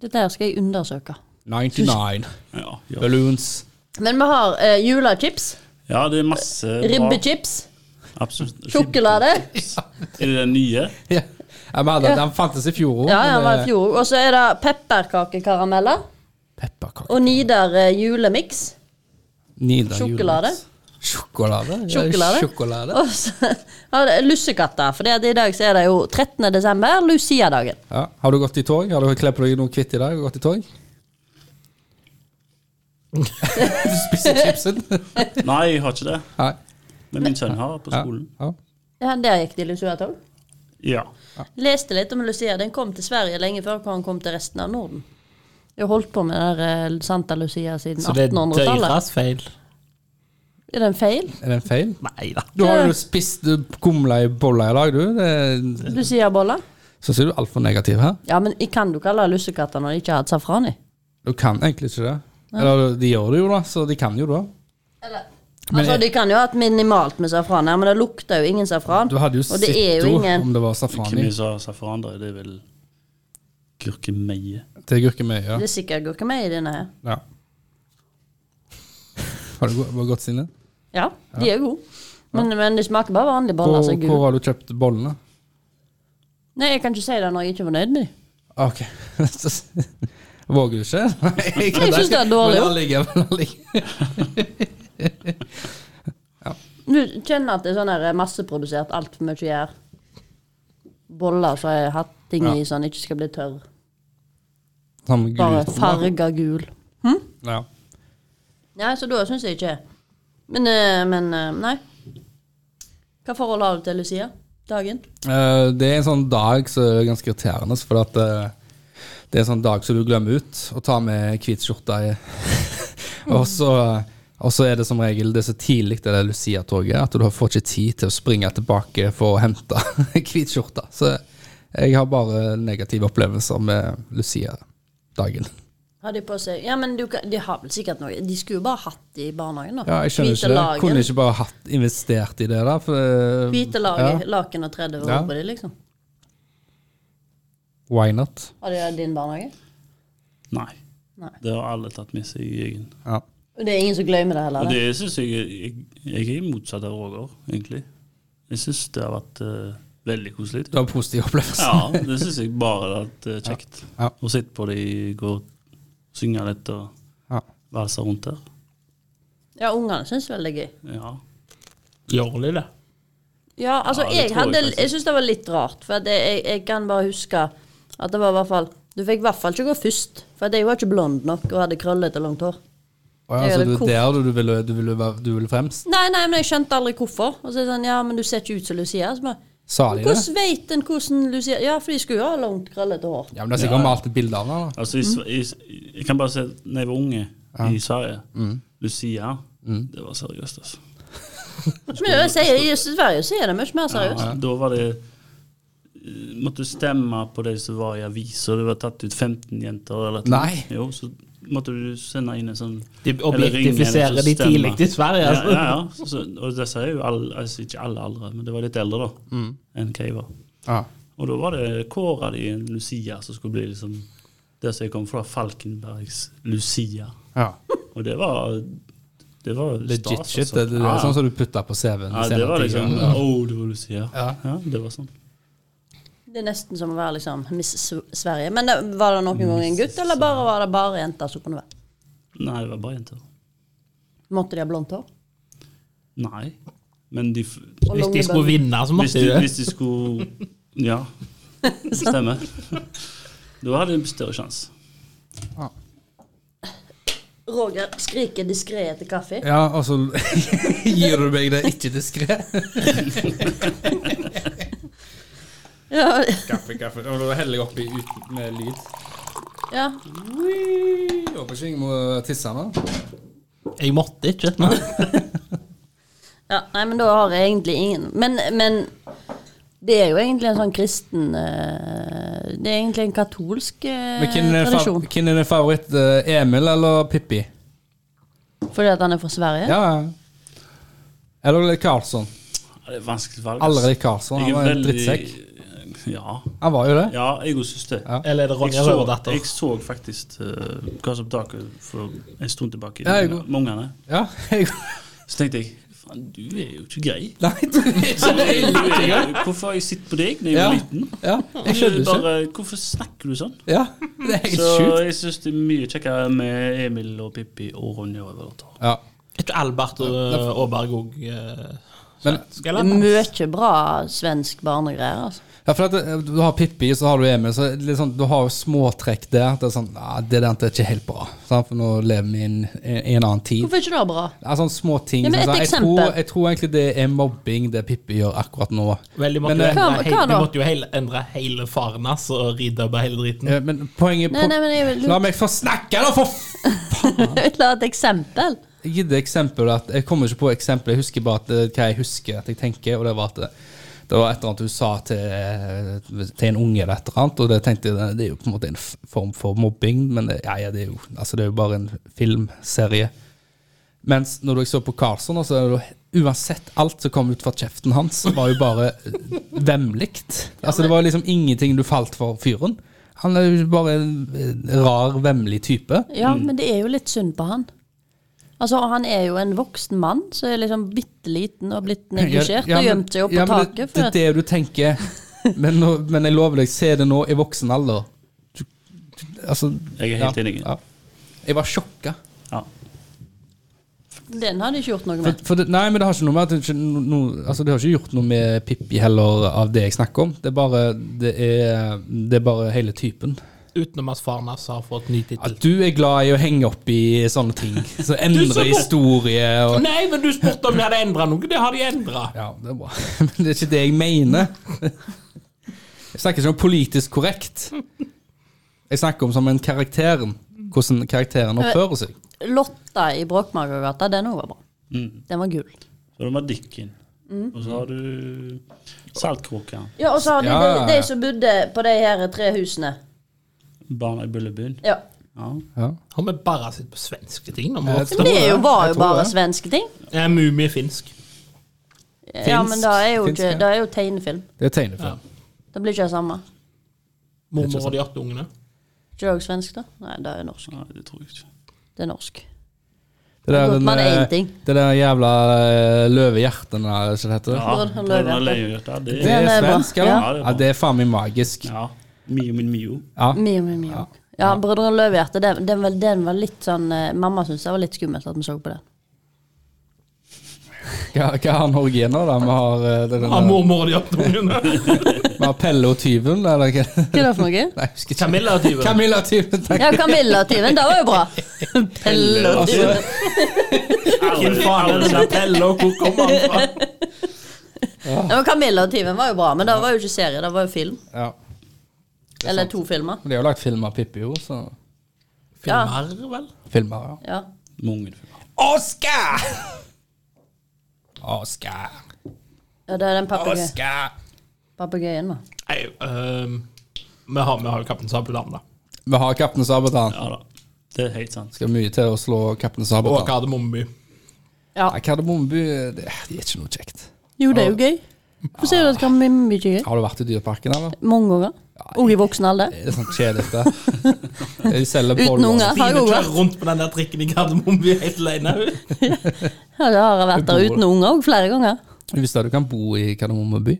B: Dette her skal jeg undersøke.
A: 99.
D: Ja, ja.
A: Balloons.
B: Men vi har eh, julechips,
D: ja det er masse bra.
B: ribbechips,
D: Absolutt.
B: sjokolade.
D: Er det den nye?
A: Ja. Ja, men den, den fantes i fjor òg.
B: Ja, ja, det
C: eh,
B: var i fjor. Og så er det pepperkakekarameller
A: Pepperkake.
B: og Nidar eh, julemiks.
A: Nidar
B: Sjokolade.
A: julemiks. Sjokolade? Ja,
B: Sjokolade.
A: Sjokolade.
B: Og så har det lussekatter, for det at i dag så er det jo 13. desember, Lucia-dagen.
A: Ja. Har du gått i tog? Har du kledd på deg noe hvitt i dag og gått i tog? du spiser chipsen?
D: Nei, jeg har ikke det.
A: Nei.
D: Men min sønn har på skolen.
A: Ja.
B: Ja, der gikk de Lucia-tog.
D: Ja.
B: Leste litt om Lucia. Den kom til Sverige lenge før han kom til resten av Norden. Jeg har holdt på med den der eh, Santa Lucia siden
C: Så det er
B: 1800-tallet.
C: deres feil.
B: Er det en feil?
A: Er det en feil?
C: Nei da.
A: Du har jo spist eh, kumle i bolla i dag, du. Det-
B: Lucia-boller?
A: Syns jeg du er altfor negativ her.
B: Ja, men jeg kan du kalle det lussekatter når de ikke har hatt safran i?
A: Du kan egentlig ikke det. Eller de gjør det jo, da, så de kan jo det. Men
B: altså,
A: jeg-
B: De kan jo ha hatt minimalt med safran her, men det lukter jo ingen safran.
A: Du hadde jo
B: og det er
A: sett jo
B: jo ingen
A: om det var
D: Hvem
A: safran
D: er
A: i.
D: det som har safran der? Det er vel gurkemeie.
A: Det er gurkemeie. Ja.
B: Det er sikkert gurkemeie i denne her.
A: Ja. Har du go- gått sinne?
B: Ja, de er gode. Men, men de smaker bare vanlige
A: Hvor,
B: boller. som er
A: hvor
B: gule.
A: har du kjøpt bollene?
B: Nei, jeg kan ikke si det når jeg ikke er fornøyd med dem.
A: Ok. Våger du ikke? Nei,
B: synes det er dårlig,
A: Men han ligger, men han ligger.
B: Du kjenner at det er sånn her masseprodusert, altfor mye gjær. Boller som har hatt ting
A: Ja.
B: i sånn ikke skal bli tørr.
A: Sånn gul
B: Bare
A: utform, da.
B: farga gul.
A: Ja.
B: Nei, så da syns jeg ikke Men, eh, men eh, nei. Hva forhold har du til Lucia? Dagen?
A: Eh, det er en sånn dag som er ganske irriterende, for at, eh, det er en sånn dag som du glemmer ut å ta med hvit skjorte i. og, så, og så er det som regel det er så tidlig det der Lucia-toget at du får ikke tid til å springe tilbake for å hente hvit skjorte. Så jeg har bare negative opplevelser med Lucia-dagen.
B: Har de på seg Ja, men du, kan- de har vel sikkert noe De skulle jo bare hatt det i barnehagen, da.
A: Ja, jeg skjønner
B: Hvite
A: ikke det.
B: laken.
A: Kunne ikke bare hatt investert i det der. For, eh,
B: Hvite lag,
A: ja.
B: laken og 30 år
A: Ja.
B: på dem, liksom.
A: Why not?
B: Har de det i din barnehage?
D: Nei.
B: Nei.
D: Det har alle tatt med seg i egen.
A: Ja.
B: Og det er ingen som glemmer det heller?
D: Og
B: Det.
D: det syns jeg Jeg, jeg er motsatt av Roger, egentlig. Jeg syns det har vært eh, veldig koselig.
A: Du har positive opplevelser.
D: Ja, det syns jeg bare har vært eh, kjekt.
A: Ja. Ja.
D: Å sitte på det, gå og synge litt og
A: Ja.
D: valse rundt der.
B: Ja, ungene syns vel det er gøy.
D: Ja.
C: Gjør de det?
B: Ja, altså,
D: Ja, det
B: jeg,
D: tror jeg
B: hadde,
D: kanskje.
B: jeg syns det var litt rart, for at jeg, jeg, jeg kan bare huske at det var i hvert fall Du fikk i hvert fall ikke gå først, for at jeg var ikke blond nok og hadde krøllete, langt hår.
A: Å ja,
B: Jeg
A: så
B: gjør det
A: du,
B: kort.
A: der du, du ville, du ville, være- du ville fremst?
B: Nei, nei, men jeg skjønte aldri hvorfor. Og så er det sånn, ja, men du ser ikke ut som Lucia. Så bare,
A: Sa de det?
B: hvordan vet en hvordan Lucia Ja, for de skulle jo ha langt, krøllete hår.
A: Ja, men det er sikkert malt et bilde av henne. da.
D: Altså, i, Sve- i, s- jeg kan bare si at når jeg var unge i Sverige, Lucia, det var seriøst, altså.
B: Men jeg sier, I Sverige så er det mye mer seriøst.
D: Da var det eh, Måtte stemme på de som var i aviser. Det var tatt ut 15 jenter eller noe.
A: Nei.
D: Jo, så måtte du sende inn en sånn
C: De
D: eller ringe, eller
C: objektifiserer
D: så
C: de
D: stemme.
C: tidlig i Sverige.
D: Ja,
C: Altså.
D: ja, ja. Så, så- og det sier jo alle, altså ikke alle aldre, men det var litt eldre da
A: Mm.
D: enn hva jeg var.
A: Ja.
D: Og da var det kåra de en Lucia som skulle bli liksom Det som jeg kom fra, Falkenbergs Lucia.
A: Ja.
D: Og det var Det var
A: Legit
D: stas,
A: shit.
D: altså.
A: Det, det, det
D: Ja,
A: er
D: ja.
A: sånn som du putter på CV-en.
D: ja,
A: i
D: det var
A: senere
D: liksom
A: tid,
D: Å,
A: ja.
D: det var Lucia.
A: Ja.
D: Ja, det var sånn.
B: Det er nesten som å være liksom Miss Sv- Sverige. Men det, var det noen gang en gutt, eller bare var det bare jenter som kunne være?
D: Nei, det var bare jenter.
B: Måtte de ha blondt hår?
D: Nei. Men de f-
B: Og
C: Hvis de
B: lange
C: skulle
B: bønner?
C: vinne,
D: hvis
C: så måtte
D: de,
C: de det.
D: hvis de skulle Ja. Stemmer. Da hadde de større sjanse.
B: Roger skriker diskré etter kaffe.
A: ja, og så gir du meg det ikke diskré.
B: Ja,
A: Kaffe, kaffe. Og da heller jeg oppi uten med lyd.
B: ja.
A: Håper ikke jeg må tisse nå.
C: Jeg måtte ikke.
B: ja. Nei, men da har jeg egentlig ingen Men, men det er jo egentlig en sånn kristen eh, Det er egentlig en katolsk eh,
A: Men hvem er, fa
B: tradisjon.
A: hvem er din favoritt? eh, Emil eller Pippi?
B: Fordi at han er fra Sverige?
A: Ja, ja. Eller Karlsson.
D: Ja, det er et vanskelig valg. ass.
A: Allerede Karlsson. Han
D: Jeg er
A: var en
D: veldig-
A: drittsekk.
D: Ja.
A: Han var jo det.
D: ja jeg også syns det.
A: Ja.
C: Eller er det
D: Jeg
C: Ronja
D: så,
C: Røverdatter?
D: jeg så faktisk uh, Hva som taket for en stund tilbake.
A: Ja, jeg
D: med
A: går.
D: Ungene.
A: Ja, jeg
D: Så tenkte jeg faen, du er jo ikke grei.
A: Nei, du er ikke
D: Du
A: det.
D: er jo ikke grei. Hvorfor har jeg sett på deg da jeg var
A: Ja.
D: liten?
A: Ja, jeg
D: Du
A: skjønner ikke.
D: Bare, hvorfor snakker du sånn?
A: Ja, det er helt
D: Så
A: sjukt.
D: jeg syns det er mye kjekkere med Emil og Pippi og Ronja Røverdatter.
A: Ja.
C: Er ikke Albert og
A: Ja.
C: Aaberg òg eh,
A: Men,
C: skal
B: Det
C: jeg
B: er
C: la-
B: mye bra svensk barnegreier, altså.
A: ja, for at eh, du har Pippi, så har du Emil. Så det er sånn, du har jo småtrekk der. Det er sånn, «Nei, det der er ikke helt bra. sant? For nå lever vi i en, i en annen tid.
B: Hvorfor er ikke det bra?
A: Det er sånne små ting.
B: Ja,
A: sånn,
B: men et
A: sånn, jeg,
B: eksempel.
A: tror, jeg tror egentlig det er mobbing, det Pippi gjør akkurat nå.
C: Veldig måtte
A: Men,
C: jo
A: eh,
C: endre
B: Hva-
C: hele-
B: hva
C: Du
B: da?
C: måtte jo hele, endre hele faren hans og ridubbe hele driten.
A: Eh, Men poenget
B: Nei, nei, men jeg vil-
A: La meg få snakke, da, for f-
B: La et eksempel.
A: Jeg gidder eksempel at Jeg kommer ikke på eksempel. Jeg husker bare at, eh, hva jeg husker at jeg tenker, og det var at det, det var et eller annet hun sa til, eh, til en unge eller et eller annet, og det tenkte jeg det er jo på en måte en f- form for mobbing, men det, ja, ja, det, er, jo, altså, det er jo bare en filmserie. Mens når jeg så på Karlsson, så er det jo uansett alt som kom ut fra kjeften hans, var jo bare vemmelikt. Altså, det var liksom ingenting du falt for fyren. Han er jo bare en rar, vemmelig type.
B: Ja, men det er jo litt synd på han. Altså, Han er jo en voksen mann som er liksom bitte liten og blitt neglisjert
A: Ja, ja,
B: og
A: men-
B: gjemt seg opp på
A: ja, men det-
B: taket. For
A: Det er det du tenker. Men, nå, men jeg lover deg, se det nå i voksen alder. Du, du, altså,
D: Jeg er helt
A: ja,
D: enig.
A: Ja. Jeg var sjokka.
D: Ja.
B: Den hadde jeg ikke gjort noe med.
A: For, for det, nei, men det har ikke noe med at det ikke, no, no- altså, det har ikke gjort noe med Pippi heller, av det jeg snakker om. Det er bare, det er, det er bare hele typen.
C: Utenom at faren hans har fått ny tittel.
A: At du er glad i å henge opp i sånne ting. Så endre historie og
C: Nei, men du spurte om de hadde endra noe. Det har de endra.
A: Ja, det er bra. Men det er ikke det jeg mener. Jeg snakker ikke om politisk korrekt. Jeg snakker om som en karakter. Hvordan karakteren oppfører seg.
B: Lotta i Bråkmakergata, den òg var bra.
A: Mm.
B: Den var gul.
D: Så har du Madikken. Og så har du Saltkråka.
B: Ja, og så har de
A: Ja, ja,
B: de,
A: ja.
B: de som bodde på de her tre husene.
D: Barna i Bullebyen.
B: Ja.
D: Ja.
A: Ja.
C: Har vi bare sett på svenske ting? Nå,
A: Jeg
B: Men det er jo, var
A: Jeg
B: jo
A: tror
B: bare
A: det.
B: svenske ting.
C: Ja, Mumie er finsk.
B: Ja, men det er jo,
A: Finsk,
B: ikke,
A: ja.
B: det er jo tegnefilm.
A: Det er tegnefilm.
B: Det blir ikke det samme.
C: Mormor og de åtte ungene.
B: Ikke det også svensk, da? Nei, det er norsk.
D: Nei, det tror jeg ikke.
B: Det er norsk.
A: Det
B: Godt,
A: den,
B: man er
A: eh,
B: én ting.
A: det der jævla eh, løvehjerten eller hva det heter.
D: Ja,
B: Brødrene
D: Brødrene
B: Løvehjerte.
D: Løvehjerte. Det
A: Det er
D: er
B: Den er bra.
A: svensk, eller?
D: Ja.
A: Ja, det er faen meg magisk.
D: Ja. Mio min Mio.
A: Ja.
B: Mio, mio, mio. Ja, Brødrene Løvehjerte, den, den, var- den var litt sånn eh, Mamma syntes det var litt skummelt at vi så på den.
A: Hva, hva har Norge igjen nå, da? Vi har, eh, det,
C: Ja,
A: den,
C: mormor og de åtte ungene.
A: vi har Pelle og tyven, eller hva?
B: Hva er det for noe?
A: Nei, jeg husker ikke.
C: Camilla og tyven.
A: Camilla og tyven, takk.
B: Ja, Camilla og tyven. Det var jo bra. Pelle og
A: Altså,
B: tyven.
C: Hvem faen er det
D: liksom.
C: der Pelle, og hvor kommer han fra?
B: Ja, men Camilla og tyven var jo bra, men det var jo ikke serie, det var jo film.
A: ja.
B: Eller to filmer.
A: De har jo lagt film av Pippi, jo, så
C: Filmer, vel?
A: Filmer, ja.
B: Ja.
D: Mange filmer.
A: Oscar! Oscar,
B: ja det er den papegøy-
A: Oscar.
B: papegøyen, da.
C: Nei, øhm, vi har, vi har jo Kaptein Sabeltann, da.
A: Vi har Kaptein Sabeltann.
D: Ja da. Det er helt sant.
A: Skal mye til å slå Kaptein
C: Og
A: Sabeltann.
C: Kardemommeby.
B: Ja.
A: Nei, Kardemommeby det, det er ikke noe kjekt.
B: Jo, det er jo gøy. Hvorfor sier du at Kardemommeby ikke er gøy?
A: Har du vært i Dyreparken, eller?
B: Mange ganger. Og i voksen alder.
A: Det er sånn kjedelig, det. De selger
B: Uten
A: boller.
B: unger. Har
C: Fine
B: jeg også
C: kjører
B: vært.
C: rundt på den der trikken i Kardemommeby helt alene. hun.
B: Ja, det har jeg vært der uten unger òg flere ganger.
A: Du visste at du kan bo i Kardemommeby?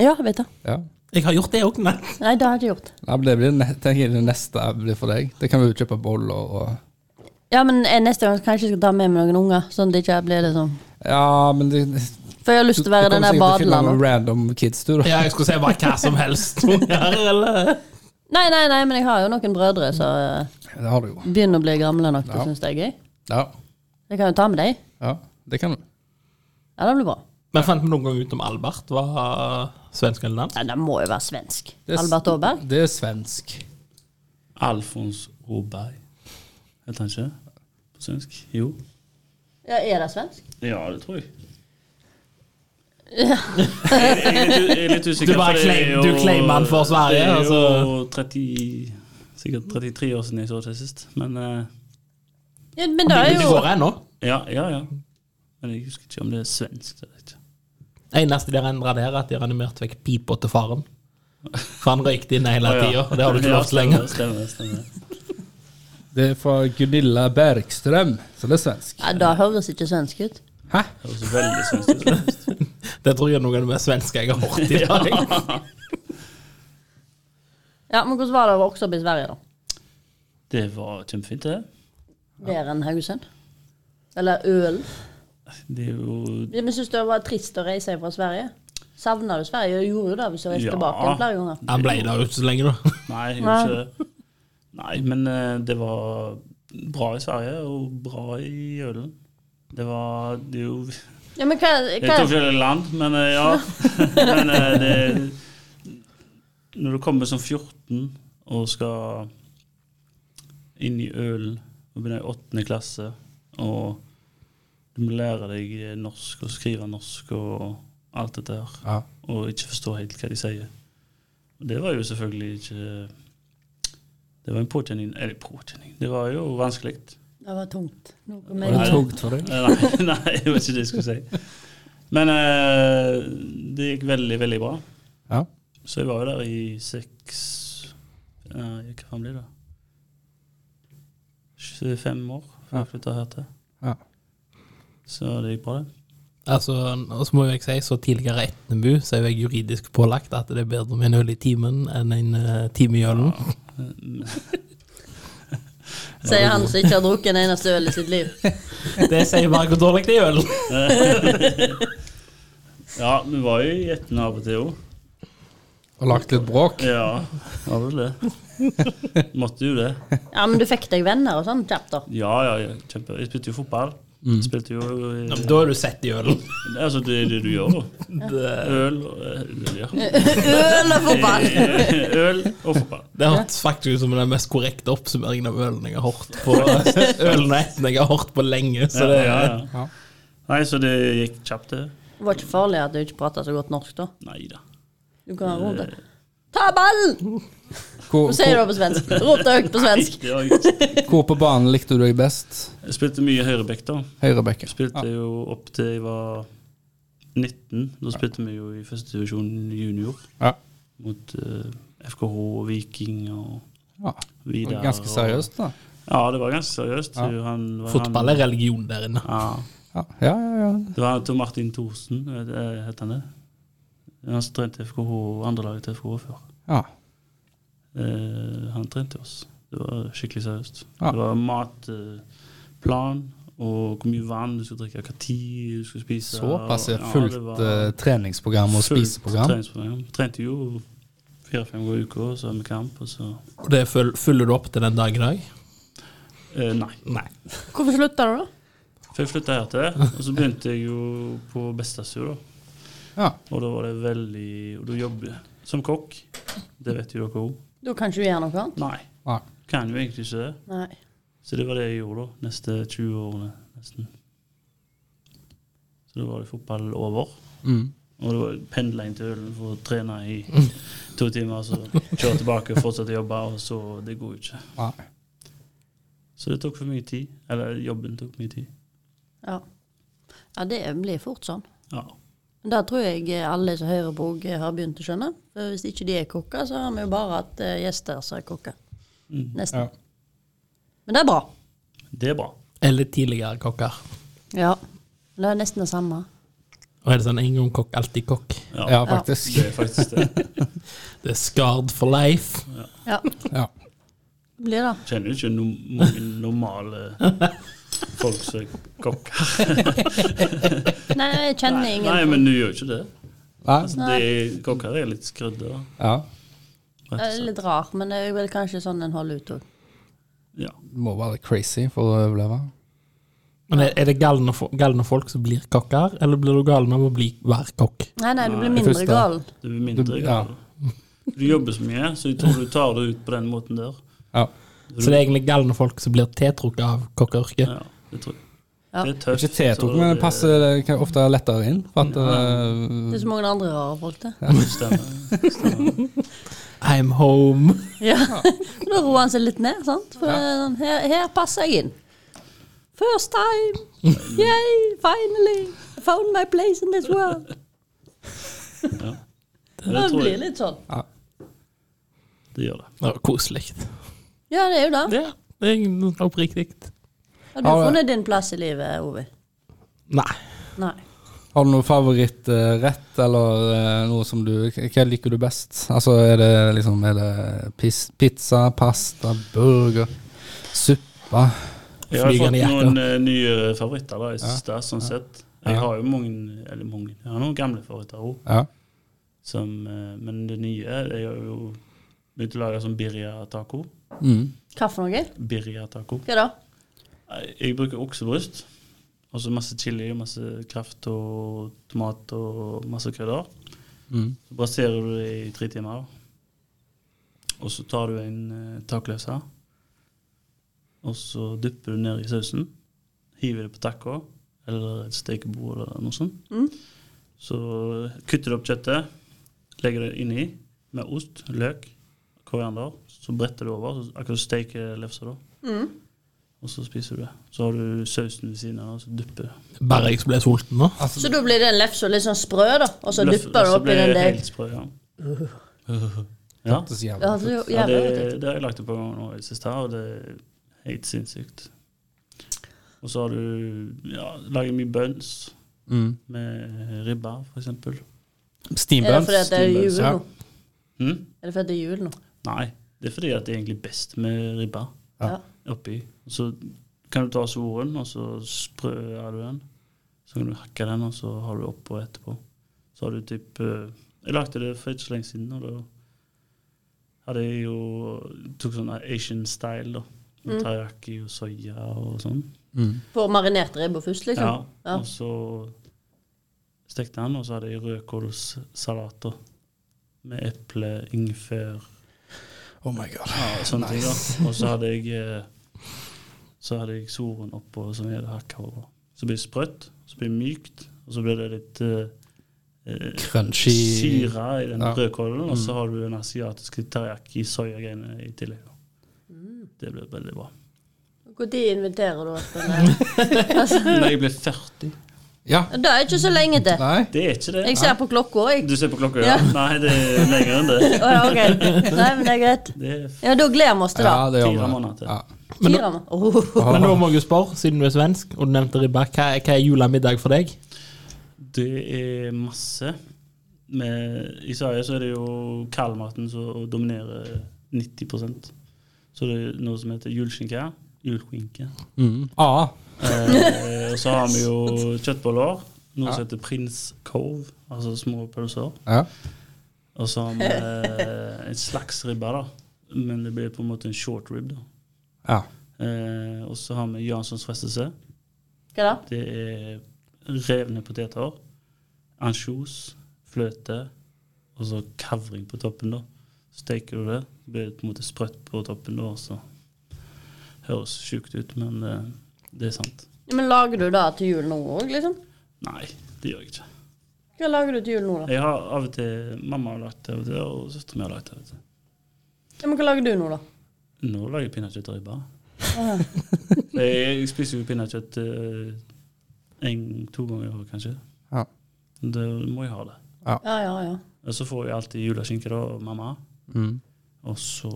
B: Ja, jeg vet det.
A: Ja.
C: Jeg har gjort det òg, nei.
B: Nei, det har jeg ikke gjort.
A: Nei, men det blir ne tenker jeg det neste blir for deg. Det kan vi jo kjøpe boller og
B: Ja, men eh, neste gang kanskje jeg skal ta med meg noen unger, sånn at det ikke blir det sånn.
A: Ja, men det,
B: For jeg har lyst til å være den der badelandet.
A: noen random kids, du, da.
C: Ja, jeg skulle si bare hva som helst. Unger, eller?
B: Nei, nei, nei, men jeg har jo noen brødre som eh,
A: Det har du jo.
B: begynner å bli gamle nok til
A: Ja.
B: å synes det er gøy.
A: Ja.
B: Jeg kan jo ta med deg.
A: ja. Det kan du.
B: Ja, det blir bra.
C: Men fant vi noen gang ut om Albert var eh, svensk eller dansk?
B: Nei, det må jo være svensk.
A: Det er s-
B: Albert Aaberg.
A: Det er svensk.
D: Alfons Åberg. Heter han ikke det? På svensk? Jo.
B: Ja, er det svensk?
D: Ja, det tror jeg. jeg, jeg, er litt- jeg er litt usikker.
C: Du bare
D: for det er
C: claim- du
D: jo-
C: claimer han for Sverige,
D: Det er jo
C: altså.
D: 30, sikkert 33 år siden jeg så det sist. Men eh,
B: Ja, men det er
C: Det
B: jo
C: går ennå.
D: ja, ja, ja. Men jeg husker ikke om det er svensk. Det vet jeg ikke.
C: Eneste de har endra der, er at de har animert vekk pipa til faren. For han røykte inn hele
D: Å, ja.
C: tida, og det har du ikke
D: Ja,
C: lov til lenger.
D: Stemmer, stemmer, stemmer.
A: Det er fra Gunilla Bergstrøm, så det er svensk.
B: ja, Det høres ikke svensk ut.
A: Hæ?
D: Det høres veldig svensk ut.
C: Det tror jeg er noe av det mest svenske jeg har hørt i dag.
B: Ja, Men hvordan var det å vokse opp i Sverige, da?
D: Det var kjempefint, det.
B: Bedre enn Haugesund? Eller Ølen?
D: Det er jo
B: Men syns du det var trist å reise fra Sverige? Savna du Sverige? Jeg gjorde jo det hvis du reiste
D: Ja.
B: tilbake igjen flere ganger.
C: Han ble der ute så lenge, da.
D: Nei, jeg gjorde ikke det. Nei, men eh, det var bra i Sverige og bra i Ølen. Det var det er jo
B: Ja, men hva,
D: Jeg
B: hva
D: tok jo det land, men eh, ja. Men eh, det Når du kommer som 14 og skal inn i Ølen og begynner i åttende klasse, og du må lære deg norsk og skrive norsk og alt dette her
A: Ja.
D: og ikke forstår helt hva de sier. Og det var jo selvfølgelig ikke Det var en påkjenning Eller påkjenning Det var jo vanskelig.
B: Det var tungt. Noe
A: Var det
B: med
A: tungt for deg?
D: Nei, nei, det var ikke det jeg skulle si. Men eh, det gikk veldig, veldig bra.
A: Ja.
D: Så jeg var jo der i seks eh, Hva faen blir det? 25 år før jeg flytta her til.
A: Ja.
D: Så det gikk bra, det.
C: Altså, og så må jeg si, så tidligere Etnebu, så er jeg juridisk pålagt at det er bedre med en øl i timen enn en eh, time i ølen.
B: Sier han som ikke har drukket en eneste øl i sitt liv.
C: Det sier bare hvor dårlig det er i øl.
D: Ja, vi var jo i Etne av og til òg.
A: Og lagt litt bråk.
D: Ja, var vel det. Måtte jo det.
B: Ja, men du fikk deg venner og sånn kjapt, da.
D: Ja, ja, ja, kjempe. Jeg spilte jo fotball. Spilte jo i-
C: Ja, men Da er du sett i ølen.
D: Altså, det er det du gjør, da.
C: Det,
D: Øl og eh, Øl, ja.
B: Øl og fotball!
D: Øl og fotball.
C: det hørtes faktisk ut som den mest korrekte oppsummeringen av ølen jeg har hørt på Ølen og etten jeg har hørt på lenge. Så det,
D: ja,
C: ja,
D: ja, ja. Nei, så det gikk kjapt, det.
B: Det var ikke farlig at du ikke prata så godt norsk, da.
D: Nei da.
B: Du kan rope det. Ta ballen!
A: Hvor,
B: Så sier du
A: hvor,
B: det på svensk. Rop det høyt på svensk.
D: Det var ikke-
A: hvor på banen likte du deg best?
D: Jeg spilte mye høyreback, da.
A: Høyrebekke.
D: Spilte jo opp til jeg var 19. Da spilte vi jo i førstedivisjon junior
A: Ja.
D: mot eh, FKH og Viking og
A: ja. Det
D: Vidar.
A: var Ganske seriøst, da.
D: Og, ja, det var ganske seriøst.
A: Ja.
D: Jo, Han, var
C: Fotball
D: han,
C: er religion der inne.
D: ja.
A: Ja, ja, ja. ja.
D: Det var han Tor Martin Thorsen, eh, het han det? Han som trente FKH og andrelaget til FKH før.
A: ja.
D: Eh, han trente oss. Det var skikkelig seriøst.
A: Ja.
D: Det var matplan og hvor mye vann du skulle drikke, hva tid du skulle spise.
A: Såpass
D: og-
A: ja, fullt
D: det var
A: eh, treningsprogram og
D: fullt
A: spiseprogram.
D: treningsprogram. Vi trente jo fire-fem ganger i uka, så hadde vi kamp, og så
C: Og det føl- følger du opp til den dag i dag?
D: eh, Nei.
C: Nei.
B: Hvorfor slutta du, da?
D: For jeg flytta her til, og så begynte jeg jo på Bestastua, da.
A: Ja.
D: Og da var det veldig Og da jobber jeg som kokk. Det vet jo dere òg.
B: Da kan ikke du gjøre noe annet.
D: Nei,
A: ja.
D: kan jo egentlig ikke det.
B: Nei.
D: Så det var det jeg gjorde da, neste 20 årene nesten. Så da var det fotball over.
A: Mm.
D: Og det var pendla inn til Ølen for å trene i to timer, så kjøre tilbake og fortsette å jobbe, og så Det går jo ikke.
A: ja.
D: Så det tok for mye tid. Eller jobben tok mye tid.
B: Ja. ja, det blir fort sånn.
D: Ja.
B: Men Der tror jeg alle som hører på, også har begynt å skjønne. For hvis ikke de er kokker, så har vi jo bare hatt eh, gjester som er kokker.
D: Mm.
A: Ja.
B: Nesten. Men det er bra.
D: Det er bra.
C: Eller tidligere kokker.
B: Ja. Det er nesten det samme.
C: Og er det sånn en gang kokk, alltid kokk?
D: Ja,
A: ja, faktisk.
D: Det er faktisk det.
C: Det er skard for life.
B: Ja, det
A: Ja.
B: blir det.
D: Kjenner jo ikke no mange normale folk som er kokker.
B: Nei, jeg kjenner ingen.
D: Nei, men du gjør jo ikke det.
A: Nei.
D: Altså, det er, kokker er litt skrudde. da,
A: Ja.
D: rett og
B: Det er
D: slett.
B: litt rar, men det er vel kanskje sånn en holder ut òg.
D: Ja.
A: Må være crazy for å overleve.
C: Men er, er det galne, fo- galne folk som blir kokker, eller blir du gal med å bli hver kokk?
B: Nei, nei, du blir
D: Nei,
B: mindre
A: første.
B: gal.
D: Du blir mindre
A: Du-
D: gal. Du jobber så mye, så jeg tror du tar det ut på den måten der.
A: Ja.
C: Så det er egentlig galne folk som blir tiltrukket av kokkeyrket?
D: Ja, det tror jeg.
B: Ja.
D: Det er tøft. altså.
A: Ikke tetok,
D: så
A: men det
D: det-
A: passer det kan ofte være lettere inn. For at, eh,
B: Det er
D: Mm.
B: så mange andre rare folk, det.
D: det stemmer.
C: I'm home.
B: Ja. da roer han seg litt ned, sant? For det er sånn, her, her passer jeg inn. First time! Yay, finally! I found my place in this world.
D: Det
B: Det
D: tror
B: blir
D: jeg.
B: litt sånn.
D: Det gjør det.
C: Det var koselig.
B: Ja, det er jo det.
C: Ja, det er oppriktig.
B: Har du
A: Har-
B: funnet din plass i livet, Ove?
C: Nei.
B: Nei.
A: eh, har du noen favorittrett, eller eh, noe som du Hva liker du best? Altså, er det liksom Er det pis, pizza, pasta, burger, suppe?
D: Jeg har fått
C: Flygende jakker.
D: noen eh, nye favoritter da, i siste, sånn sett. Jeg har jo mange, eller mange, jeg har noen gamle favoritter òg.
A: Ja.
D: Men det nye Jeg har jo begynt å lage sånn birria taco.
A: Mm.
B: Hva for noe?
D: Birria taco.
B: Hva da?
D: Jeg bruker oksebryst. Og så masse chili og masse kraft og tomat og masse krydder.
A: Mm.
D: Så braserer du det i tre timer. Og så tar du en eh, takløse. Og så dypper du ned i sausen. Hiver det på taco eller et stekebord eller noe sånt.
B: Mm.
D: Så kutter du opp kjøttet, legger det inni med ost, løk, koriander. Så bretter du over, så akkurat som steker lefsa, da.
B: Mm.
D: Og så spiser du det. Så har du sausen ved siden av, og så dypper du.
C: Bare jeg som ble sulten nå.
A: Altså,
B: Så da blir den lefsa litt sånn sprø, da? Og så
D: Løf-
B: dypper du
D: så
B: oppi
D: blir
B: den
D: det
B: der?
D: helt sprø, ja. ja.
A: Det er så
B: Ja,
A: jævlig.
B: det er jo
D: Ja,
B: jævlig
D: det,
B: godt ut.
D: det har jeg lagt opp på nå i det siste, her, og det er helt sinnssykt. Og så har du ja, laget mye buns
A: Mm.
D: med ribba, for eksempel.
B: Er det
A: Steambuns.
B: fordi at det er jul
A: ja.
B: nå?
D: Hm?
B: Er det fordi at det er jul nå?
D: Nei, det er fordi at det er egentlig best med ribba.
A: Ja.
B: Ja.
D: oppi. Så kan du ta svoren, og så sprøer du den. Så kan du hakke den, og så har du oppå etterpå. Så har du typ eh, Jeg lagde det for ikke så lenge siden, og da hadde jeg jo Tok sånn Asian style, da. Med Teriyaki og soya og sånn.
A: Mm.
B: På marinert ribbe først,
D: Ja,
B: liksom? Ja.
D: og så stekte han, og så hadde jeg rødkålssalat da. med eple, ingefær
A: Oh my god.
D: ja, og sånne ting. da. Og så hadde jeg eh, så hadde jeg soren oppå som jeg hadde hakka over. Så blir det sprøtt, så blir det mykt, og så blir det litt eh, eh,
A: Crunchy
D: syre i den
A: Ja.
D: rødkålen, og så har du den asiatiske teriyaki-soyagreiene i tillegg. da. Det blir veldig bra.
B: Når inviterer du oss på det? altså,
D: Når jeg blir 40
A: Ja.
B: det er ikke så lenge til.
A: Nei.
D: Det er ikke det.
B: Jeg ser på klokka, jeg.
D: Du ser på klokka, ja? Nei, det er lenger enn det.
B: Å ja, OK. Nei, men det er greit.
D: Det er
B: Ja, da gleder vi oss til det.
A: Ja, det gjør
D: Fire
A: vi.
D: måneder til.
A: Ja.
C: Men
B: Fire må- Åh.
C: Men nå må jeg jo spørre, siden du er svensk og du nevnte ribba, hva, er- hva er julemiddag for deg?
D: Det er masse. Med, I Sverige så er det jo kaldmaten som dominerer 90 Så det er noe som heter julskinke. Julskinke.
A: Mm. Ah.
D: Eh, og så har vi jo kjøttboller. Noe som heter prinskorv, altså små pølser.
A: Ja.
D: Og så har vi eh, en slags ribbe, da. Men det blir på en måte en short rib. da.
A: ja.
D: Eh, og så har vi Janssons frestelse.
B: Hva da?
D: Det er revne poteter, ansjos, fløte og så kavring på toppen. da. Steker du det, blir det på en måte sprøtt på toppen. da, og så Høres sjukt ut, men eh, det er sant.
B: Ja, Men lager du det til jul nå òg, liksom?
D: Nei, det gjør jeg ikke.
B: Hva lager du til jul nå, da?
D: Jeg har av og til, Mamma har lagt det av og til, og søstera mi har lagt det. av og til.
B: Ja, men hva lager du nå, da?
D: Nå lager jeg pinnekjøttribbe. jeg, jeg spiser jo pinnekjøtt én-to ganger i året, kanskje.
A: Ja.
D: Da må jeg ha det.
B: Ja, ja, ja.
D: Og så får jeg alltid juleskinke da, og mamma.
A: Mm.
D: Og så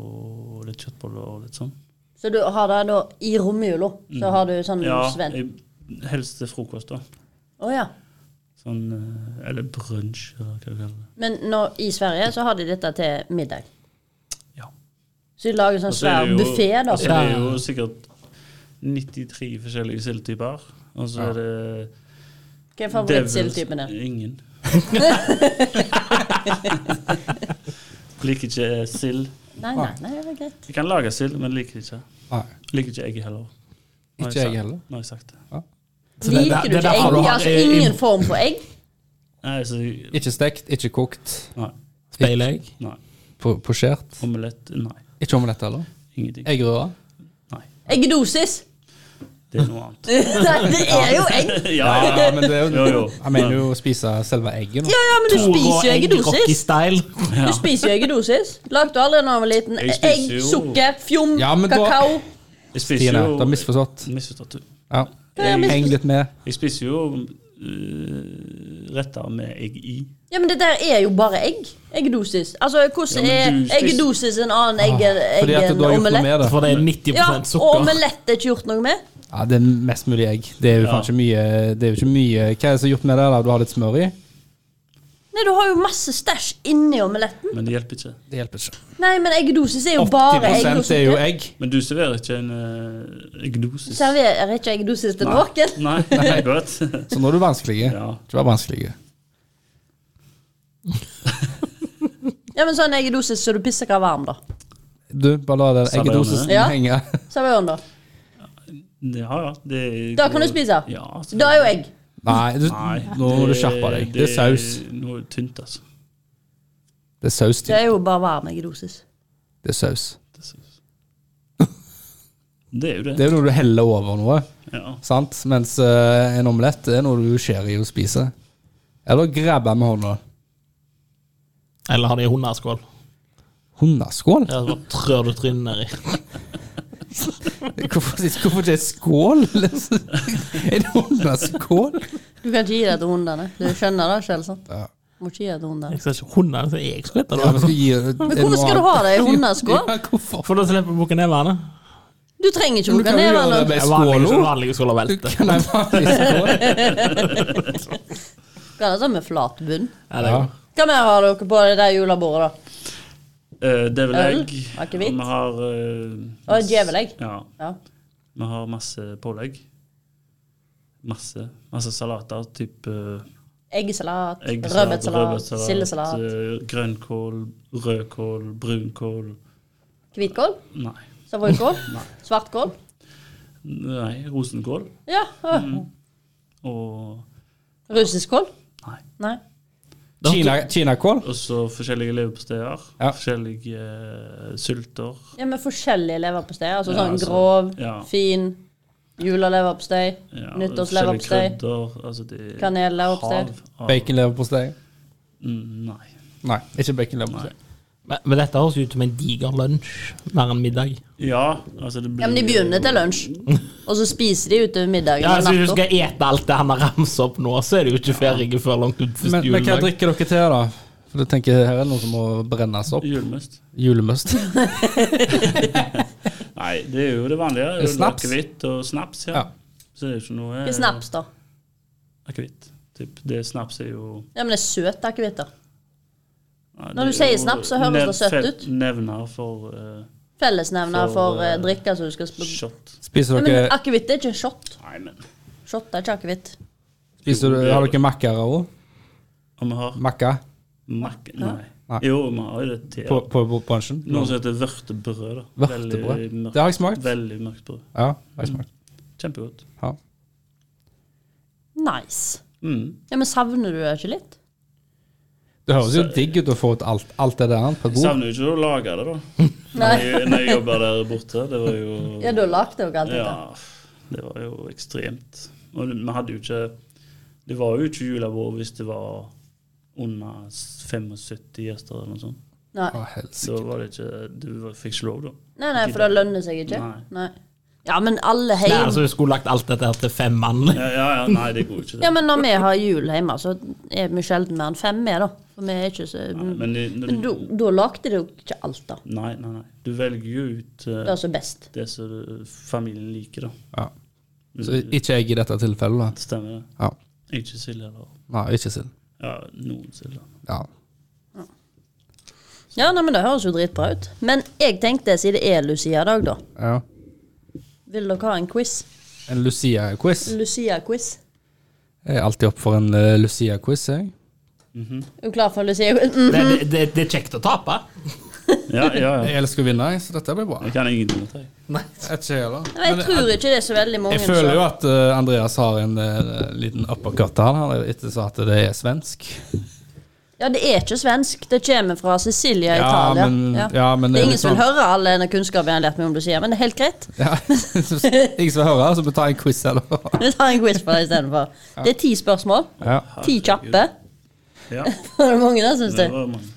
D: litt kjøttboller og litt sånn.
B: Så du har det da i romjula? Så har du sånn
D: Mm. Ja,
B: svenn?
D: jeg, helst til frokost, da.
B: Å ja.
D: Sånn, eh, eller brunsj, eller hva du kaller det.
B: Men nå, i Sverige så har de dette til middag.
D: Ja.
B: Så de lager sånn
D: Og så er
B: svær
D: det jo-
B: buffé, da.
D: Og så er det jo sikkert 93 forskjellige sildetyper. Og så er det
B: Hva er
D: devils-
B: favorittsildtypen din?
D: Ingen. liker ikke sild.
B: Nei, nei, nei, det er greit.
D: Jeg kan lage sild, men liker ikke.
A: Nei.
D: Liker ikke egg heller. Nå har
A: Ikke jeg
D: sagt-
A: heller.
D: Nå har jeg sagt det.
C: Så det-
B: Liker
C: det-
B: du
C: det er
B: ikke
C: derfor
B: egg?
C: du har-
B: altså
C: eh,
B: ingen form for egg?
D: Nei, så jeg,
A: Ikke stekt, ikke kokt,
D: nei,
C: Speilegg?
D: nei.
A: po- posjert.
D: Omelett? Nei.
A: Ikke omelett heller.
D: Ingenting.
A: Eggerøre.
D: Nei.
B: Eggedosis!
D: Det er noe annet.
B: nei, det er jo egg!
D: ja,
A: Ja, men det er
D: Jo, jo.
A: Jeg mener jo å spise selve egget. nå.
B: Ja, ja, men du
C: Rå
B: spiser jo
C: egg, Rocky
B: eggedosis.
C: style.
B: Du spiser jo eggedosis. Lagde du aldri da jeg var liten?
D: Jeg spiser
B: Egg,
D: jo-
B: sukker, fjom,
A: Ja, men da-
B: kakao.
D: Jeg spiser
A: Stine, du
D: jo
A: har misforstått.
D: Misforstått, du.
A: Ja.
B: Ja, men-
A: Heng litt med.
D: Jeg spiser jo øh, retter med egg i.
B: Ja, men det der er jo bare egg. Eggedosis. Altså, hvordan
D: Ja, men du
B: er
D: spiser-
B: eggedosis en annen egg egg
A: Ah, Fordi at
B: enn
A: du har gjort noe
B: omelett?
A: med det.
C: For det er 90
B: Ja, og
C: sukker.
B: omelett er ikke gjort noe med.
A: Ja, Det er mest mulig egg. Det er jo
D: Ja.
A: faen ikke mye Det er jo ikke mye Hva er det som er gjort med det? da? Du har litt smør i?
B: Nei, du har jo masse stæsj inni omeletten.
D: Men det hjelper ikke.
A: Det hjelper ikke.
B: Nei, men eggedosis er jo bare egg.
A: 80 er jo egg.
D: Men du serverer ikke en øh, eggdosis.
B: Serverer ikke eggedosis til noen?
D: Nei, nei, godt.
A: Så nå er du vanskelig.
D: Ja.
A: Du er vanskelig.
B: Ja, men sånn eggedosis så du pisser ikke varm, da.
A: Du, bare la den
D: Samme
A: eggedosisen
B: Ja.
A: henge.
B: Serverer den, da.
D: Ja, ja. Det
B: Da kan du spise.
D: Ja, altså.
B: Da er jo egg.
A: Nei, du,
D: Nei,
A: nå må du skjerpe deg. Det er saus.
D: Noe tynt, altså.
A: Det er saus.
B: Det
A: Det
B: er jo bare varm eggedosis.
A: det er saus.
D: Det er, saus. det er jo det.
A: Det er jo noe du heller over noe,
D: Ja.
A: sant? Mens eh, en omelett det er noe du skjærer i og spiser. Eller grabber med hånda.
C: Eller har de hundeskål?
A: Hundeskål?
C: Ja, så bare trør du trynet nedi.
A: Hvorfor, hvorfor ikke skål? liksom? En hundeskål?
B: Du kan ikke gi det til hundene. Du skjønner det selv, sant?
A: Ja.
B: Må ikke gi det til hundene.
C: Jeg skal ikke hunder, så jeg skal hete
A: Ja, vi
C: det.
A: skal gi, men
B: hvorfor skal du ha det i hundeskål?
A: Ja, hvorfor?
C: For da slipper du å bukke nevene.
B: Du trenger ikke
A: Men du
B: bruke
A: kan jo gjøre det
B: nevene.
A: med skål
C: Vanlige,
A: også.
C: vanlige skåler
A: Du
C: velter.
A: kan ha en vanlig skål.
B: Hva er det sånn med flat bunn?
C: Ja, det er
A: Ja.
C: godt.
B: Hva mer har dere på det der julebordet, da?
D: Eh, Devilegg.
B: Øl, akevitt.
D: Og vi har eh,
B: Og
D: masse-
B: djevelegg.
D: Ja.
B: Ja.
D: Vi har masse pålegg. Masse. Masse salater. Type
B: Eggesalat,
D: eggesalat,
B: rødbetsalat,
D: rødbetsalat,
B: sildesalat,
D: eh, grønnkål, rødkål, brunkål
B: hvitkål,
D: eh, Nei.
B: savoykål, svartkål.
D: Nei, rosenkål.
B: Ja. ja.
D: Mm. Og
B: Russiskål.
D: Nei.
B: Nei.
A: Kina- Kinakål?
D: Og så forskjellige leverposteier.
A: Ja.
D: Forskjellige eh, sylter.
B: Ja, men forskjellige leverpostei. Altså
D: Ja,
B: sånn
D: altså,
B: grov,
D: ja.
B: fin, juleleverpostei,
D: Ja,
B: nyttårsleverpostei,
D: forskjellige krydder, Altså det er
B: kanelleverpostei.
D: hav av-
A: Baconleverpostei?
D: Mm, Nei.
A: Nei, ikke baconleverpostei.
C: Men, men dette høres ut som en diger lunsj, mer enn middag.
D: Ja, altså det blir
B: Ja, men de begynner til lunsj, og så spiser de utover middagen
C: Ja,
B: og
C: altså, Hvis du
B: natta.
C: skal ete alt det han har ramset opp nå, så er du jo ikke ferdig før langt ut første
A: Men, men hva
C: juledag.
A: drikker dere til, da? For jeg tenker Her er det noe som må brennes opp.
D: Julemust.
A: Julemust.
D: Nei, det er jo det vanlige.
A: Det er snaps.
D: Akevitt og snaps, ja.
A: Ja.
D: Så det er jo ikke noe eh,
B: Ikke snaps, da.
D: Akevitt. Typ. Det snaps er jo
B: Ja, men det er søt akevitt, da.
D: ja,
B: Når
D: det
B: du sier
D: er jo
B: snaps, så høres det
D: nev-
B: søtt
D: fe-
B: ut.
D: Nevner for eh,
B: Fellesnevner
D: For,
B: for eh,
D: eh,
B: drikker som du skal sp-
D: shot.
A: Spiser
B: ja, Men
A: dere,
B: akevitt er ikke en shot.
D: Nei, men
B: Shot er ikke akevitt.
A: spiser du, Har dere makkere òg?
D: Om vi har
A: Makka
D: mak... Nei.
A: Nei.
D: Jo, vi har jo det til.
A: på, på, på bransjen?
D: Noe som heter vørtebrød. da.
A: Vørtebrød?
D: Veldig mørkt-
A: Det har jeg smakt.
D: Veldig mørkt brød.
A: Ja, det er smart.
D: Kjempegodt.
A: Ja.
B: Nice.
D: Mm.
B: Ja, men savner du det ikke litt?
A: Det høres jo digg ut å få ut alt, alt det der på et
D: Jeg
A: bord.
D: savner jo ikke å lage det, da. Når jeg, når jeg jobba der borte. Det var jo
B: Ja, du har lagd det og alt dette.
D: Ja, det var jo ekstremt. Og vi hadde jo ikke Det var jo ikke julebord hvis det var under 75 gjester eller noe sånt.
B: Nei.
A: Å, helsike.
D: Da var det ikke Du var- fikk ikke lov, da.
B: nei, nei, for det lønner seg ikke.
D: Nei.
B: Nei. Ja, men alle
C: Nei,
B: hjemme
C: altså, Du skulle lagt alt dette her til fem mann.
D: Ja, ja, ja nei, det går jo ikke, det.
B: Ja, men når vi har jul hjemme, så er vi sjelden mer enn fem med, da. For vi er ikke så
D: Nei, Men, det-
B: Men da
D: når,
B: da lagde de jo ikke alt, da.
D: nei, nei, nei. Du velger jo ut
B: Det
D: eh,
B: er så best.
D: det som familien liker, da.
A: Ja. Så ikke jeg i dette tilfellet, da.
D: Stemmer det?
A: Ja.
D: Ikke sild eller
A: Nei, ikke sild.
D: Ja, noen sild. da.
A: Ja.
B: Ja, nei, men det høres jo dritbra ut. Men jeg tenkte, siden det er Lucia-dag, da,
A: ja.
B: vil dere ha en quiz?
A: En Lucia-quiz.
B: Lucia-quiz.
A: Jeg er alltid opp for en eh, Lucia-quiz, jeg.
B: Er du klar for en Lucia-quiz? Mm.
C: Det, det, det, det er kjekt å tape.
D: Ja, ja, ja.
A: Jeg elsker å vinne, jeg, så dette blir bra.
D: Jeg kan ingenting om det.
A: Jeg, ikke heller.
B: Men jeg tror ikke det er så veldig mange
A: jeg føler
B: som
A: jo at eh, Andreas har en eh, liten uppercut her, da, etter så at det er svensk.
B: Ja, det er ikke svensk. Det kommer fra Sicilia,
A: Ja,
B: Italia.
A: men- ja, men det
B: det er
A: er
B: ingen
A: litt
B: som vil
A: sånn-
B: høre all denne kunnskapen jeg har lært meg om Lucia, men det er helt greit.
A: Ja. Så Ingen som hører, så vi tar en quiz eller
B: Vi tar en quiz på det istedenfor. Det er ti spørsmål.
A: ja.
B: Ti kjappe.
D: Ja,
B: Var det mange der, syns
D: det
B: du?
D: var mange.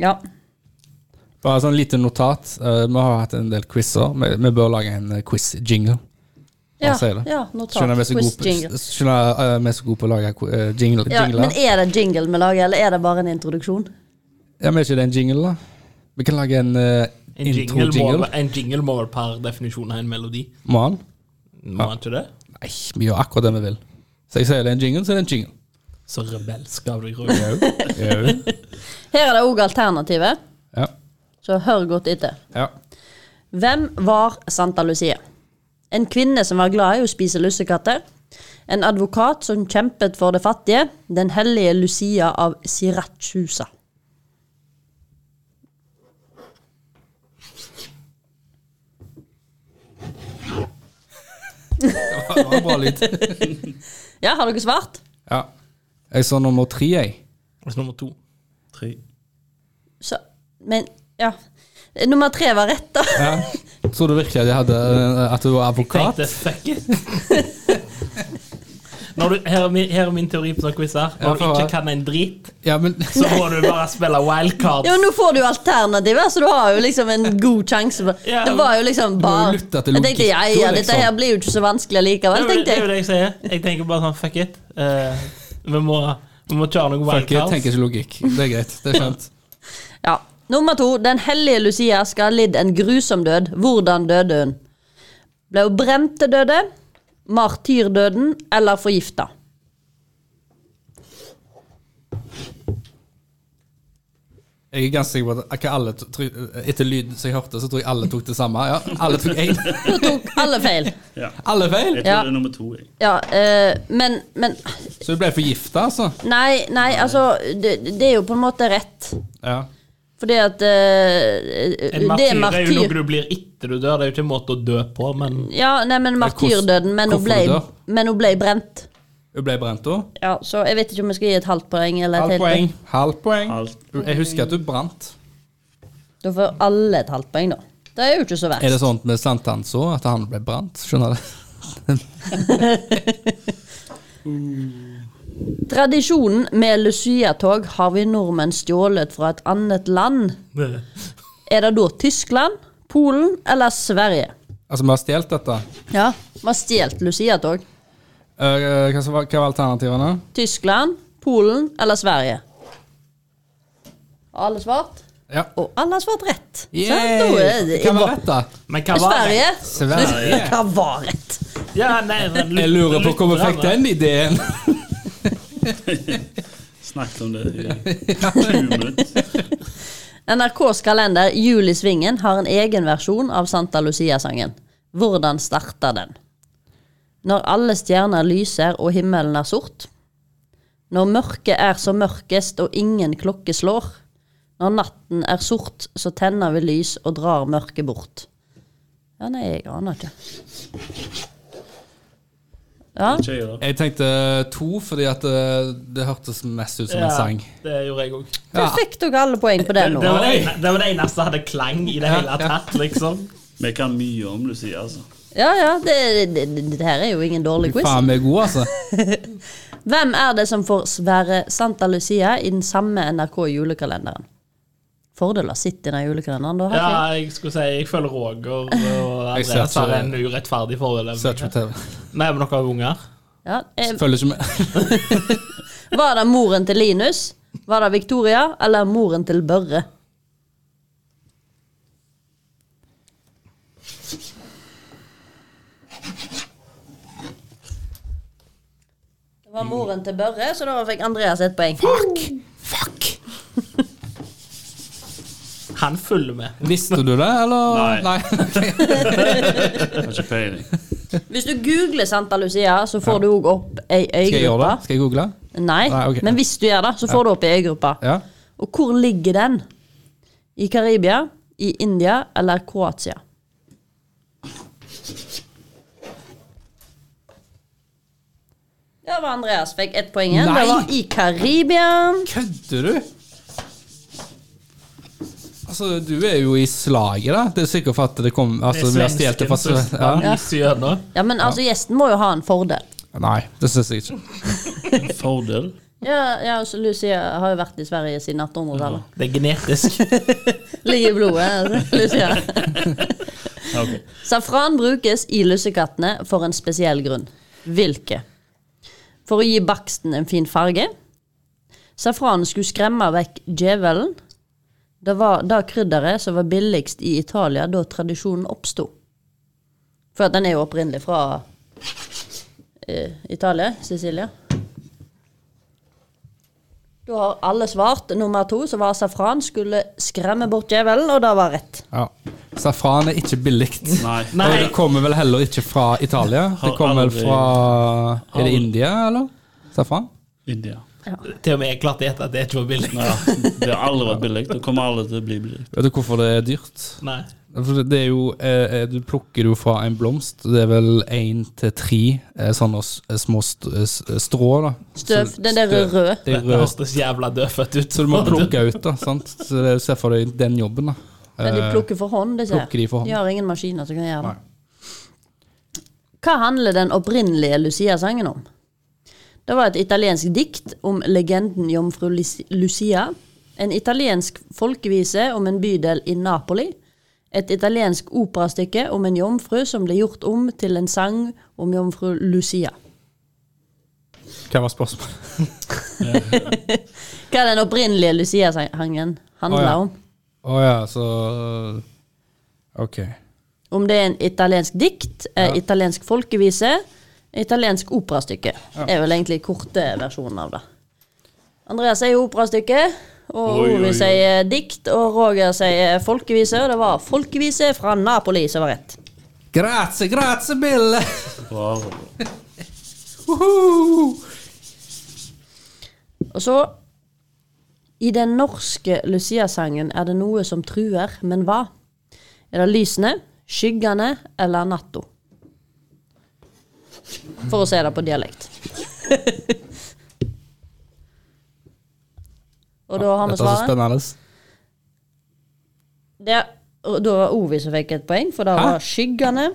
B: Ja.
A: Bare sånn lite notat. Eh, vi har hatt en del quizer. Vi, vi bør lage en eh, quiz-jingle.
B: Ja,
A: Han sier det.
B: ja notat.
A: Skjønner vi er så
B: Quiz
A: gode på-
B: jingle.
A: skjønner, eh, vi er så gode på å lage qu- eh, jingle,
B: Ja,
A: jingler.
B: men er det jingle vi lager, eller er det bare en introduksjon?
A: Ja, men er ikke det en jingle, da? Vi kan lage en eh,
C: En jingle, må,
A: intro-jingle.
C: en jingle må vel per definisjon ha en melodi.
A: Må han?
C: Må han ikke det?
A: Nei, vi gjør akkurat det vi vil. Så jeg sier det er en jingle, så er det en jingle.
C: Så rebelsk av deg, Roger.
B: Her er det òg alternativet,
A: Ja.
B: så hør godt etter.
A: ja.
B: Hvem var Santa Lucia? En kvinne som var glad i å spise lussekatter. En advokat som kjempet for det fattige. Den hellige Lucia av Sirachusa.
A: Det var en bra lyd.
B: Ja, har dere svart?
A: Ja. Jeg så nummer tre, jeg.
C: Altså, nummer to.
D: Tre.
B: Så, men ja. Nummer tre var rett, da.
A: Ja. Tror du virkelig at jeg hadde eh, At du var advokat?
C: Tenkte fuck it. Når du, her, er min, her er min teori på sånne quiz her.
A: Ja,
C: Når du
A: for-
C: ikke kan en drit,
A: Ja, men
C: så må du bare spille wildcard.
B: Ja, men Nå får du jo alternativet, så du har jo liksom en god sjanse. For.
C: Ja,
B: det var jo liksom
A: må jo
B: bare
A: lytte til
B: Jeg tenkte ja,
A: logikken,
B: ja, dette
A: liksom.
B: her blir jo ikke så vanskelig
C: Det
B: likevel,
C: er jo- det
B: tenkte
C: er jo
B: jeg.
C: det jeg sier. Jeg tenker bare sånn fuck it. Eh, vi, må, vi må kjøre noe
A: fuck it,
C: wildcard.
A: tenker ikke logikk. Det er greit. Det er skjønt.
B: Ja. Nummer to. Den hellige Lucia skal ha lidd en grusom død. Hvordan døde hun? Ble hun brent til døde? Martyrdøden eller forgifta?
A: Jeg er ganske sikker på at ikke alle to- tror- etter lyden som jeg hørte, så tror jeg alle tok det samme. Ja, alle tok én.
B: Da tok alle feil.
D: Ja.
A: Alle feil!
D: Jeg tror
B: Ja.
D: det er nummer to. Jeg.
B: Ja, eh, men, men
A: Så du ble forgifta, altså?
B: Nei, nei, altså Det, det er jo på en måte rett.
A: Ja.
B: Fordi at eh,
C: En
B: Det er
C: martyr er jo noe
B: martyr...
C: du blir etter du dør. Det er jo ikke en måte å dø på, men
B: Ja, nei, men martyrdøden, men hun
A: hvorfor
B: ble,
A: du dør?
B: men hun ble brent.
A: Hun ble brent da.
B: Ja, Så jeg vet ikke om jeg skal gi et halvt poeng eller et
A: Halvt
B: helt
A: poeng. Halvt poeng.
D: Halvt
A: Jeg husker at du brant.
B: Da får alle et halvt poeng, da. Det er jo ikke så verst.
A: Er det sånt med sankthans òg, at han ble brant? Skjønner du?
B: Tradisjonen med Lucia-tog har vi nordmenn stjålet fra et annet land. Er det da Tyskland, Polen eller Sverige?
A: Altså, vi har stjålet dette.
B: Ja. Vi har stjålet Lucia-tog.
A: Eh, hva, som var- hva var alternativene?
B: Tyskland, Polen eller Sverige? Har alle svart?
A: Ja.
B: Og alle har svart rett. Sant? Da Sånn, er
A: Yay!
B: det-
A: Hva var rett, da?
C: Men hva var det?
B: Sverige?
A: Sverige.
B: Hva var rett?
C: Ja, nei, men lyt-
A: Jeg lurer på hvor vi
C: lytterne-
A: fikk den ideen.
D: Snakket om det i 20 minutter.
B: NRKs kalender Jul i Svingen har en egen versjon av Santa Lucia-sangen. Hvordan starter den? Når alle stjerner lyser og himmelen er sort. Når mørket er som mørkest og ingen klokke slår. Når natten er sort, så tenner vi lys og drar mørket bort. Ja, nei, jeg aner ikke. Ja,
D: Ikke jeg, da.
A: Jeg tenkte to, fordi at eh, det hørtes mest ut som en sang.
C: Ja, det gjorde jeg òg.
B: du fikk dere alle poeng på det nå.
C: Det var det, ene, det var det eneste som hadde klang i det hele tatt, liksom.
D: Vi kan mye om Lucia, altså.
B: Ja, ja, det, det, det, det her er jo ingen dårlig quiz.
A: Faen, vi er gode, altså.
B: Hvem er det som får svære Santa Lucia i den samme NRK-julekalenderen? Fordel har sett i den julekalenderen, da.
C: Ja,
B: har ikke jeg?
C: jeg skulle si jeg føler Roger og
A: Jeg ser
C: Andreas har
A: ikke-
C: en
A: Ser
C: urettferdig
A: ikke
C: forelevning.
A: på TV.
C: Nei, men dere har unger.
B: Ja, eh,
A: Følger ikke med.
B: var det moren til Linus? Var det Victoria? Eller moren til Børre? Det var moren til Børre, så da fikk Andreas et poeng.
A: Fuck!
C: Han følger med.
A: Visste du det, eller?
D: Nei.
A: Ok.
D: Jeg har ikke peiling.
B: Hvis du googler Santa Lucia, så får du òg opp ei
A: Skal jeg gjøre
B: øygruppe.
A: det? Skal jeg google?
B: Nei,
A: Nei, ok.
B: men hvis du gjør det, så får du opp i øygruppa.
A: Ja.
B: Og hvor ligger den? I Karibia, i India eller Kroatia? Der var Andreas. Fikk ett poeng igjen. Det
A: Nei.
B: var i Karibia.
A: Kødder du? Altså, du er jo i slaget, da. Det er sikkert for at det kom Altså, vi har stjålet det fra Sve- ja.
C: ja.
B: Ja, men altså, gjesten må jo ha en fordel.
A: Nei, det syns jeg ikke.
D: En fordel.
B: Ja, ja så Lucia har jo vært i Sverige siden 1800-tallet.
C: Det er genetisk.
B: Ligger i blodet, altså, Lucia.
D: Ok.
B: Safran brukes i lussekattene for en spesiell grunn. Hvilke? For å gi baksten en fin farge. Safranen skulle skremme vekk djevelen. Det var det krydderet som var billigst i Italia da tradisjonen oppsto. For at den er jo opprinnelig fra eh, Italia, Sicilia. Da har alle svart nummer to, som var safran skulle skremme bort djevelen, og det var rett.
A: Ja. Safran er ikke billig.
D: Nei.
C: Nei.
A: Og det kommer vel heller ikke fra Italia. Det
D: Har
A: kommer vel
D: aldri-
A: fra Er det
D: aldri-
A: India, eller? Safran?
D: India.
C: Til og med jeg klarte å gjette at det ikke var billig.
D: Nei, det har aldri vært billig. Det kommer aldri til å bli billig.
A: Vet du hvorfor det er dyrt?
C: Nei.
A: For det er jo, eh, eh, Du plukker det jo fra en blomst. Det er vel én til tre eh, sånne s- små st eh, s- strå. da
B: Støv.
A: Så-
B: Den der
A: støv.
B: røde.
A: Det er
C: Det
A: rød,
C: hørtes jævla dødfødt ut.
A: så du må plukke ut. da sant? Så det, Se for deg den jobben. da
B: Men de
A: Eh,
B: plukker for hånd, disse her.
A: plukker de for hånd.
B: De har ingen maskiner som kan gjøre det. Hva handler den opprinnelige Lucia-sangen om? Det var et italiensk dikt om legenden jomfru Lis- Lucia. En italiensk folkevise om en bydel i Napoli. Et italiensk operastykke om en jomfru som ble gjort om til en sang om jomfru Lucia.
A: Hva var spørsmålet?
B: Hva er den opprinnelige Lucia-sangen handler
A: Å, ja.
B: om?
A: Å ja, så eh, Ok.
B: Om det er en italiensk dikt, eh, italiensk folkevise, italiensk operastykke. Det er vel egentlig korte versjonen av det. Andreas er jo operastykke. Og
D: Oi, oi,
B: Ovi
D: oi.
B: sier dikt, og Roger sier folkevise. Og det var folkevise fra Napoli som var rett.
A: Grazie, grazie, Bill!
D: Bra.
B: Og så I den norske Lucia-sangen er det noe som truer, men hva? Er det lysene, skyggene eller natto? For å si det på dialekt. og da har vi
A: Dette var så
B: svaret.
A: spennende.
B: Det, og da var Ovi som fikk et poeng, for det
A: Hæ?
B: var skyggene.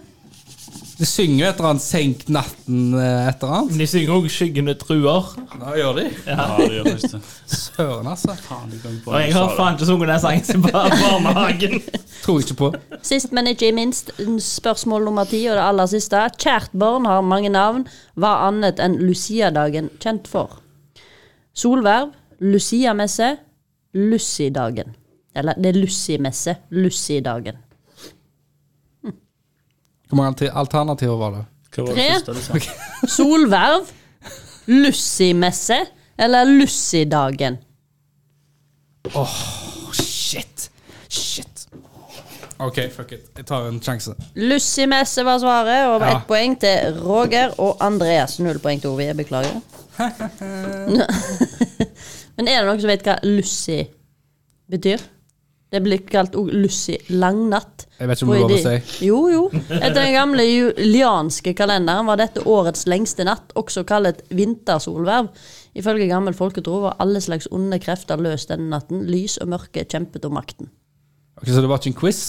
A: De synger jo et eller annet 'Senk natten' eh, et eller annet.
C: De synger òg 'Skyggene truer'.
A: Ja, gjør de?
D: Ja, det gjør faktisk det.
A: Søren, altså.
D: Faen, jeg glemte
C: Og jeg har faen ikke sunget den sangen siden bar- barnehagen.
A: Tror ikke på.
B: Sist, men ikke minst, spørsmål nummer ti, og det aller siste. Kjært barn har mange navn. Hva annet enn Lucia-dagen kjent for? Solverv, Lucia-messe, Lussi-dagen. Eller det er Lussi-messe. Lussi-dagen.
A: Hvor mange alter- alternativer var det?
D: Hva var det
B: Tre.
D: første du sa?
B: Solverv, Lussi-messe eller Lussi-dagen.
A: Shit. Shit. OK, fuck it. Jeg tar en sjanse.
B: Lussi-messe var svaret, og
A: Ja.
B: ett poeng til Roger og Andreas. Null poeng til Ovi. Jeg beklager. Men er det noen som vet hva Lussi betyr? Det blir kalt òg Lussi langnatt.
A: Jeg vet ikke om det er
B: Og i
A: lov å
B: de- Jo, jo. Etter den gamle julianske kalenderen var dette årets lengste natt, også kalt vintersolverv. Ifølge gammel folketro var alle slags onde krefter løst denne natten. Lys og mørke kjempet om makten.
A: Ok, Så det var ikke en quiz?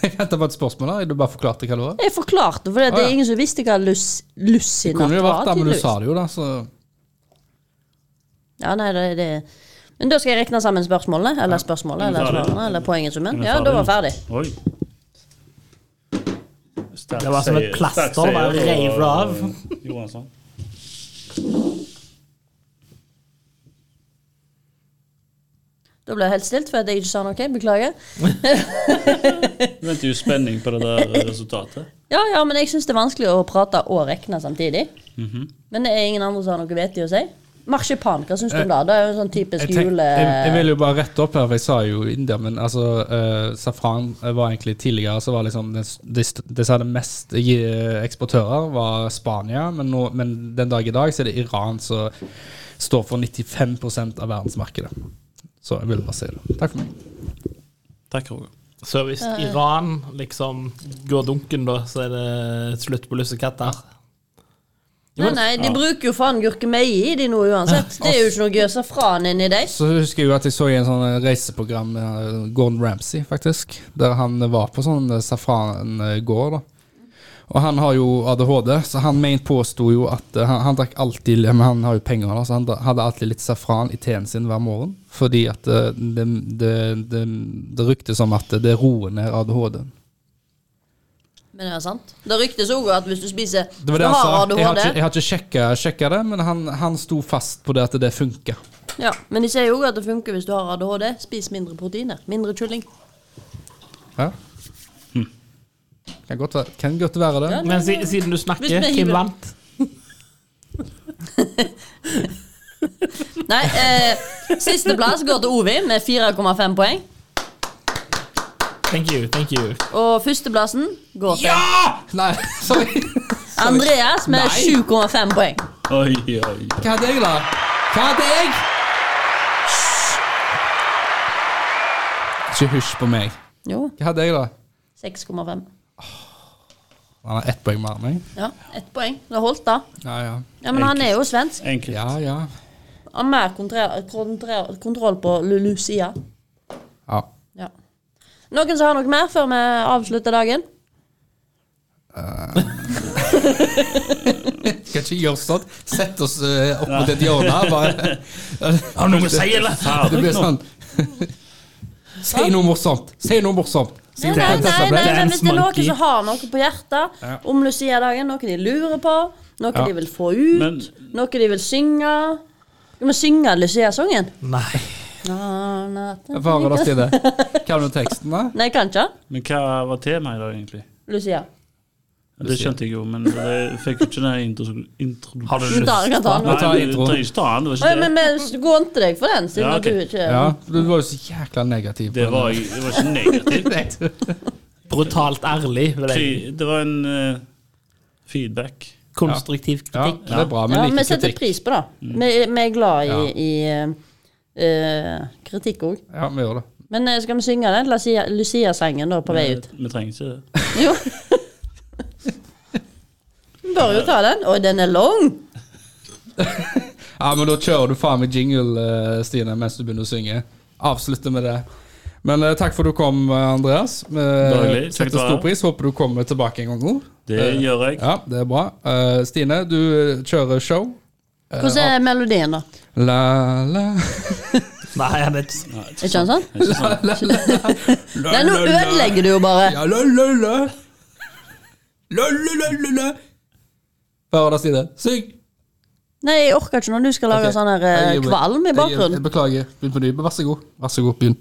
A: Jeg venta på et spørsmål. der, Du bare forklarte hva det var.
B: Jeg forklarte, for det,
A: Å, ja.
B: er ingen som visste hva lus, Lussi
A: Det kunne
B: natt
A: jo
B: var.
A: vært det, men du
B: tydeligvis.
A: sa det jo, da. Så
B: Ja, nei, det, det. Men da skal jeg rekne sammen spørsmålene, eller spørsmålet, eller
D: Er vi ferdig?
B: svarene, eller poengesummen.
D: Er vi
B: Ja, da var jeg ferdig.
D: Oi. Sterk
C: Det var som et
D: seier-
C: plaster,
D: sterk
C: bare
D: seier
C: rev
D: for,
C: det av.
D: eh, Johansson.
B: Da ble jeg helt stilt for at jeg ikke sa noe. Beklager.
D: Du venter jo i spenning på det der eh, resultatet.
B: Ja, ja, men jeg syns det er vanskelig å prate og rekne samtidig.
A: Mhm.
B: Men det er ingen andre som har noe vettig å si. Marsipan, hva syns du om det? Det er jo en sånn typisk
A: jeg, tenk,
B: jule...
A: jeg, jeg vil jo bare rette opp her, for jeg sa jo India, men altså eh, Safran var egentlig tidligere så var liksom det, det, det som hadde mest i, eh, eksportører, var Spania, men, nå, men den dag i dag så er det Iran som står for 95 av verdensmarkedet. Så jeg ville bare si det. Takk for meg.
D: Takk, Roger.
C: Så hvis Iran liksom går dunken, da, så er det slutt på lussekatter.
B: Nei, nei, de bruker jo faen gurkemeie i de nå uansett. Det er jo ikke noe gøy safran inni de.
A: Så husker jeg jo at jeg så i en sånn reiseprogram med Gordon Ramsay, faktisk. Der han var på sånn safrangård, da. Og han har jo ADHD, så han ment påsto jo at eh, han, han drakk alltid Men han har jo penger, da, så han dra- hadde alltid litt safran i teen sin hver morgen. Fordi at eh, det, det, det, det ryktes om at det roer ned ADHD.
B: Men det er sant. Det ryktes òg at hvis du spiser
A: Det var det
B: du
A: han sa.
B: ADHD
A: Jeg har ikke, jeg har ikke sjekka, sjekka det, men han, han sto fast på det at det funker.
B: Ja, Men de sier jo at det funker hvis du har ADHD. Spis mindre proteiner. Mindre kylling.
A: Ja. Kan, godt, være- kan godt være det.
C: Men si, siden du
B: Hvis vi
C: snakker,
B: hiver-
C: hvem vant?
B: Nei, eh, siste plass går til Ovi med 4,5 poeng.
C: Thank you, thank you.
B: Og førsteplassen går til
A: Nei, sorry.
B: Andreas med 7,5 poeng.
D: Oi, oi.
A: Hva hadde jeg, da? Hva hadde jeg? Ikke hysj på meg.
B: Jo,
A: Hva hadde jeg, da?
B: 6,5.
A: Han har ett poeng mer enn meg.
B: Ja, ett poeng. Det holdt, da.
A: Ja, ja.
B: Ja, Men han er jo svensk.
D: Enkelt.
A: Ja, ja.
B: Har mer kontre- kontre- kontroll på Lu- Lucia.
A: ja.
B: Ja. Noen som har noe mer før vi avslutter dagen?
A: Skal ikke gjøre sånn. Sett oss eh, opp mot et hjørne her, bare.
C: Har du noe å si, eller?
A: Det blir sånn Si noe morsomt! Si noe morsomt! Si
B: Nei,
A: noe
B: nei, nei, nei, men Hvis det er noen
C: Dance monkey.
B: som har noe på hjertet om Lucia-dagen, noe de lurer på, noe
A: Ja.
B: de vil få ut,
D: Men-
B: noe de vil synge Skal vi synge Lucia-sangen?
C: Nei.
B: Nei,
A: Bare hold oss til det. Hva er det med teksten, da?
B: jeg kan ikke.
D: Men hva var temaet i dag, egentlig?
B: Lucia.
D: Det skjønte jeg jo, men jeg fikk jo ikke den intro-
C: Har du
B: Men
D: introduksjonen.
C: lyst?
B: da kan jeg ta
D: Nei,
A: Må
B: den.
A: ta
D: du
A: intro.
D: trenger ikke ta den. Det
B: Oi,
D: var ikke det.
B: men vi går ikke til deg for den, siden
D: Ja, ok.
B: du ikke
A: Ja, du var jo så jækla negativ. på
D: Det
A: den.
D: var, det var ikke negativt.
C: Brutalt ærlig. vil jeg-
D: Fy- Det var en eh, feedback.
C: Konstruktiv
A: ja,
C: kritikk.
A: det er bra, men
B: Ja,
A: like
B: vi setter
A: kritikk. Mm.
B: pris på det. Vi, vi er glad i, i eh, kritikk òg.
A: Ja, vi gjør det.
B: Men eh, skal vi synge den Lucia- Lucia-sangen da på
A: Eh,
B: vei ut?
D: Vi trenger ikke det.
B: Jo. Vi Bør jo ta den. Oi, den er lang!
A: Ja, men da kjører du faen meg jingle, eh, Stine, mens du begynner å synge. Avslutter med det. Men eh, takk for du kom, eh, Andreas. Vi
D: Daglig. Takk
A: setter
D: skal du ha.
A: stor pris. Håper du kommer tilbake en gang nå.
D: Det
A: Eh,
D: gjør jeg.
A: Ja, det er bra. Eh, Stine, du eh, kjører show. Eh,
B: Hvordan er melodien, da?
A: La, la,
C: Nei, det er ikke sånn.
B: Er ikke den sånn?
D: Ikke sant?
A: la, la, la.
B: Nei, nå ødelegger du jo bare.
A: Ja, la, la, la. La, la, la, la, la. Bare da, Stine. Syng.
B: Nei, jeg orker ikke når du skal lage
A: Ok.
B: sånn her
A: Jeg
B: eh,
A: gir meg.
B: kvalm i
A: Jeg gir-
B: bakgrunnen.
A: Jeg beklager. Begynn på ny. Vær så god. Vær så god, begynn.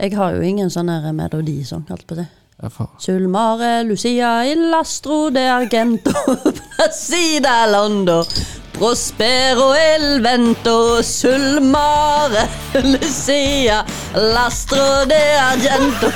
B: Jeg har jo ingen sånn her melodi, sånn kalt på det.
A: Ja, faen.
B: Sulmare, Lucia, Illastro, de Argento, Placida, Londo, Prospero, El Vento, Sulmare, Lucia, Lastro, de Argento.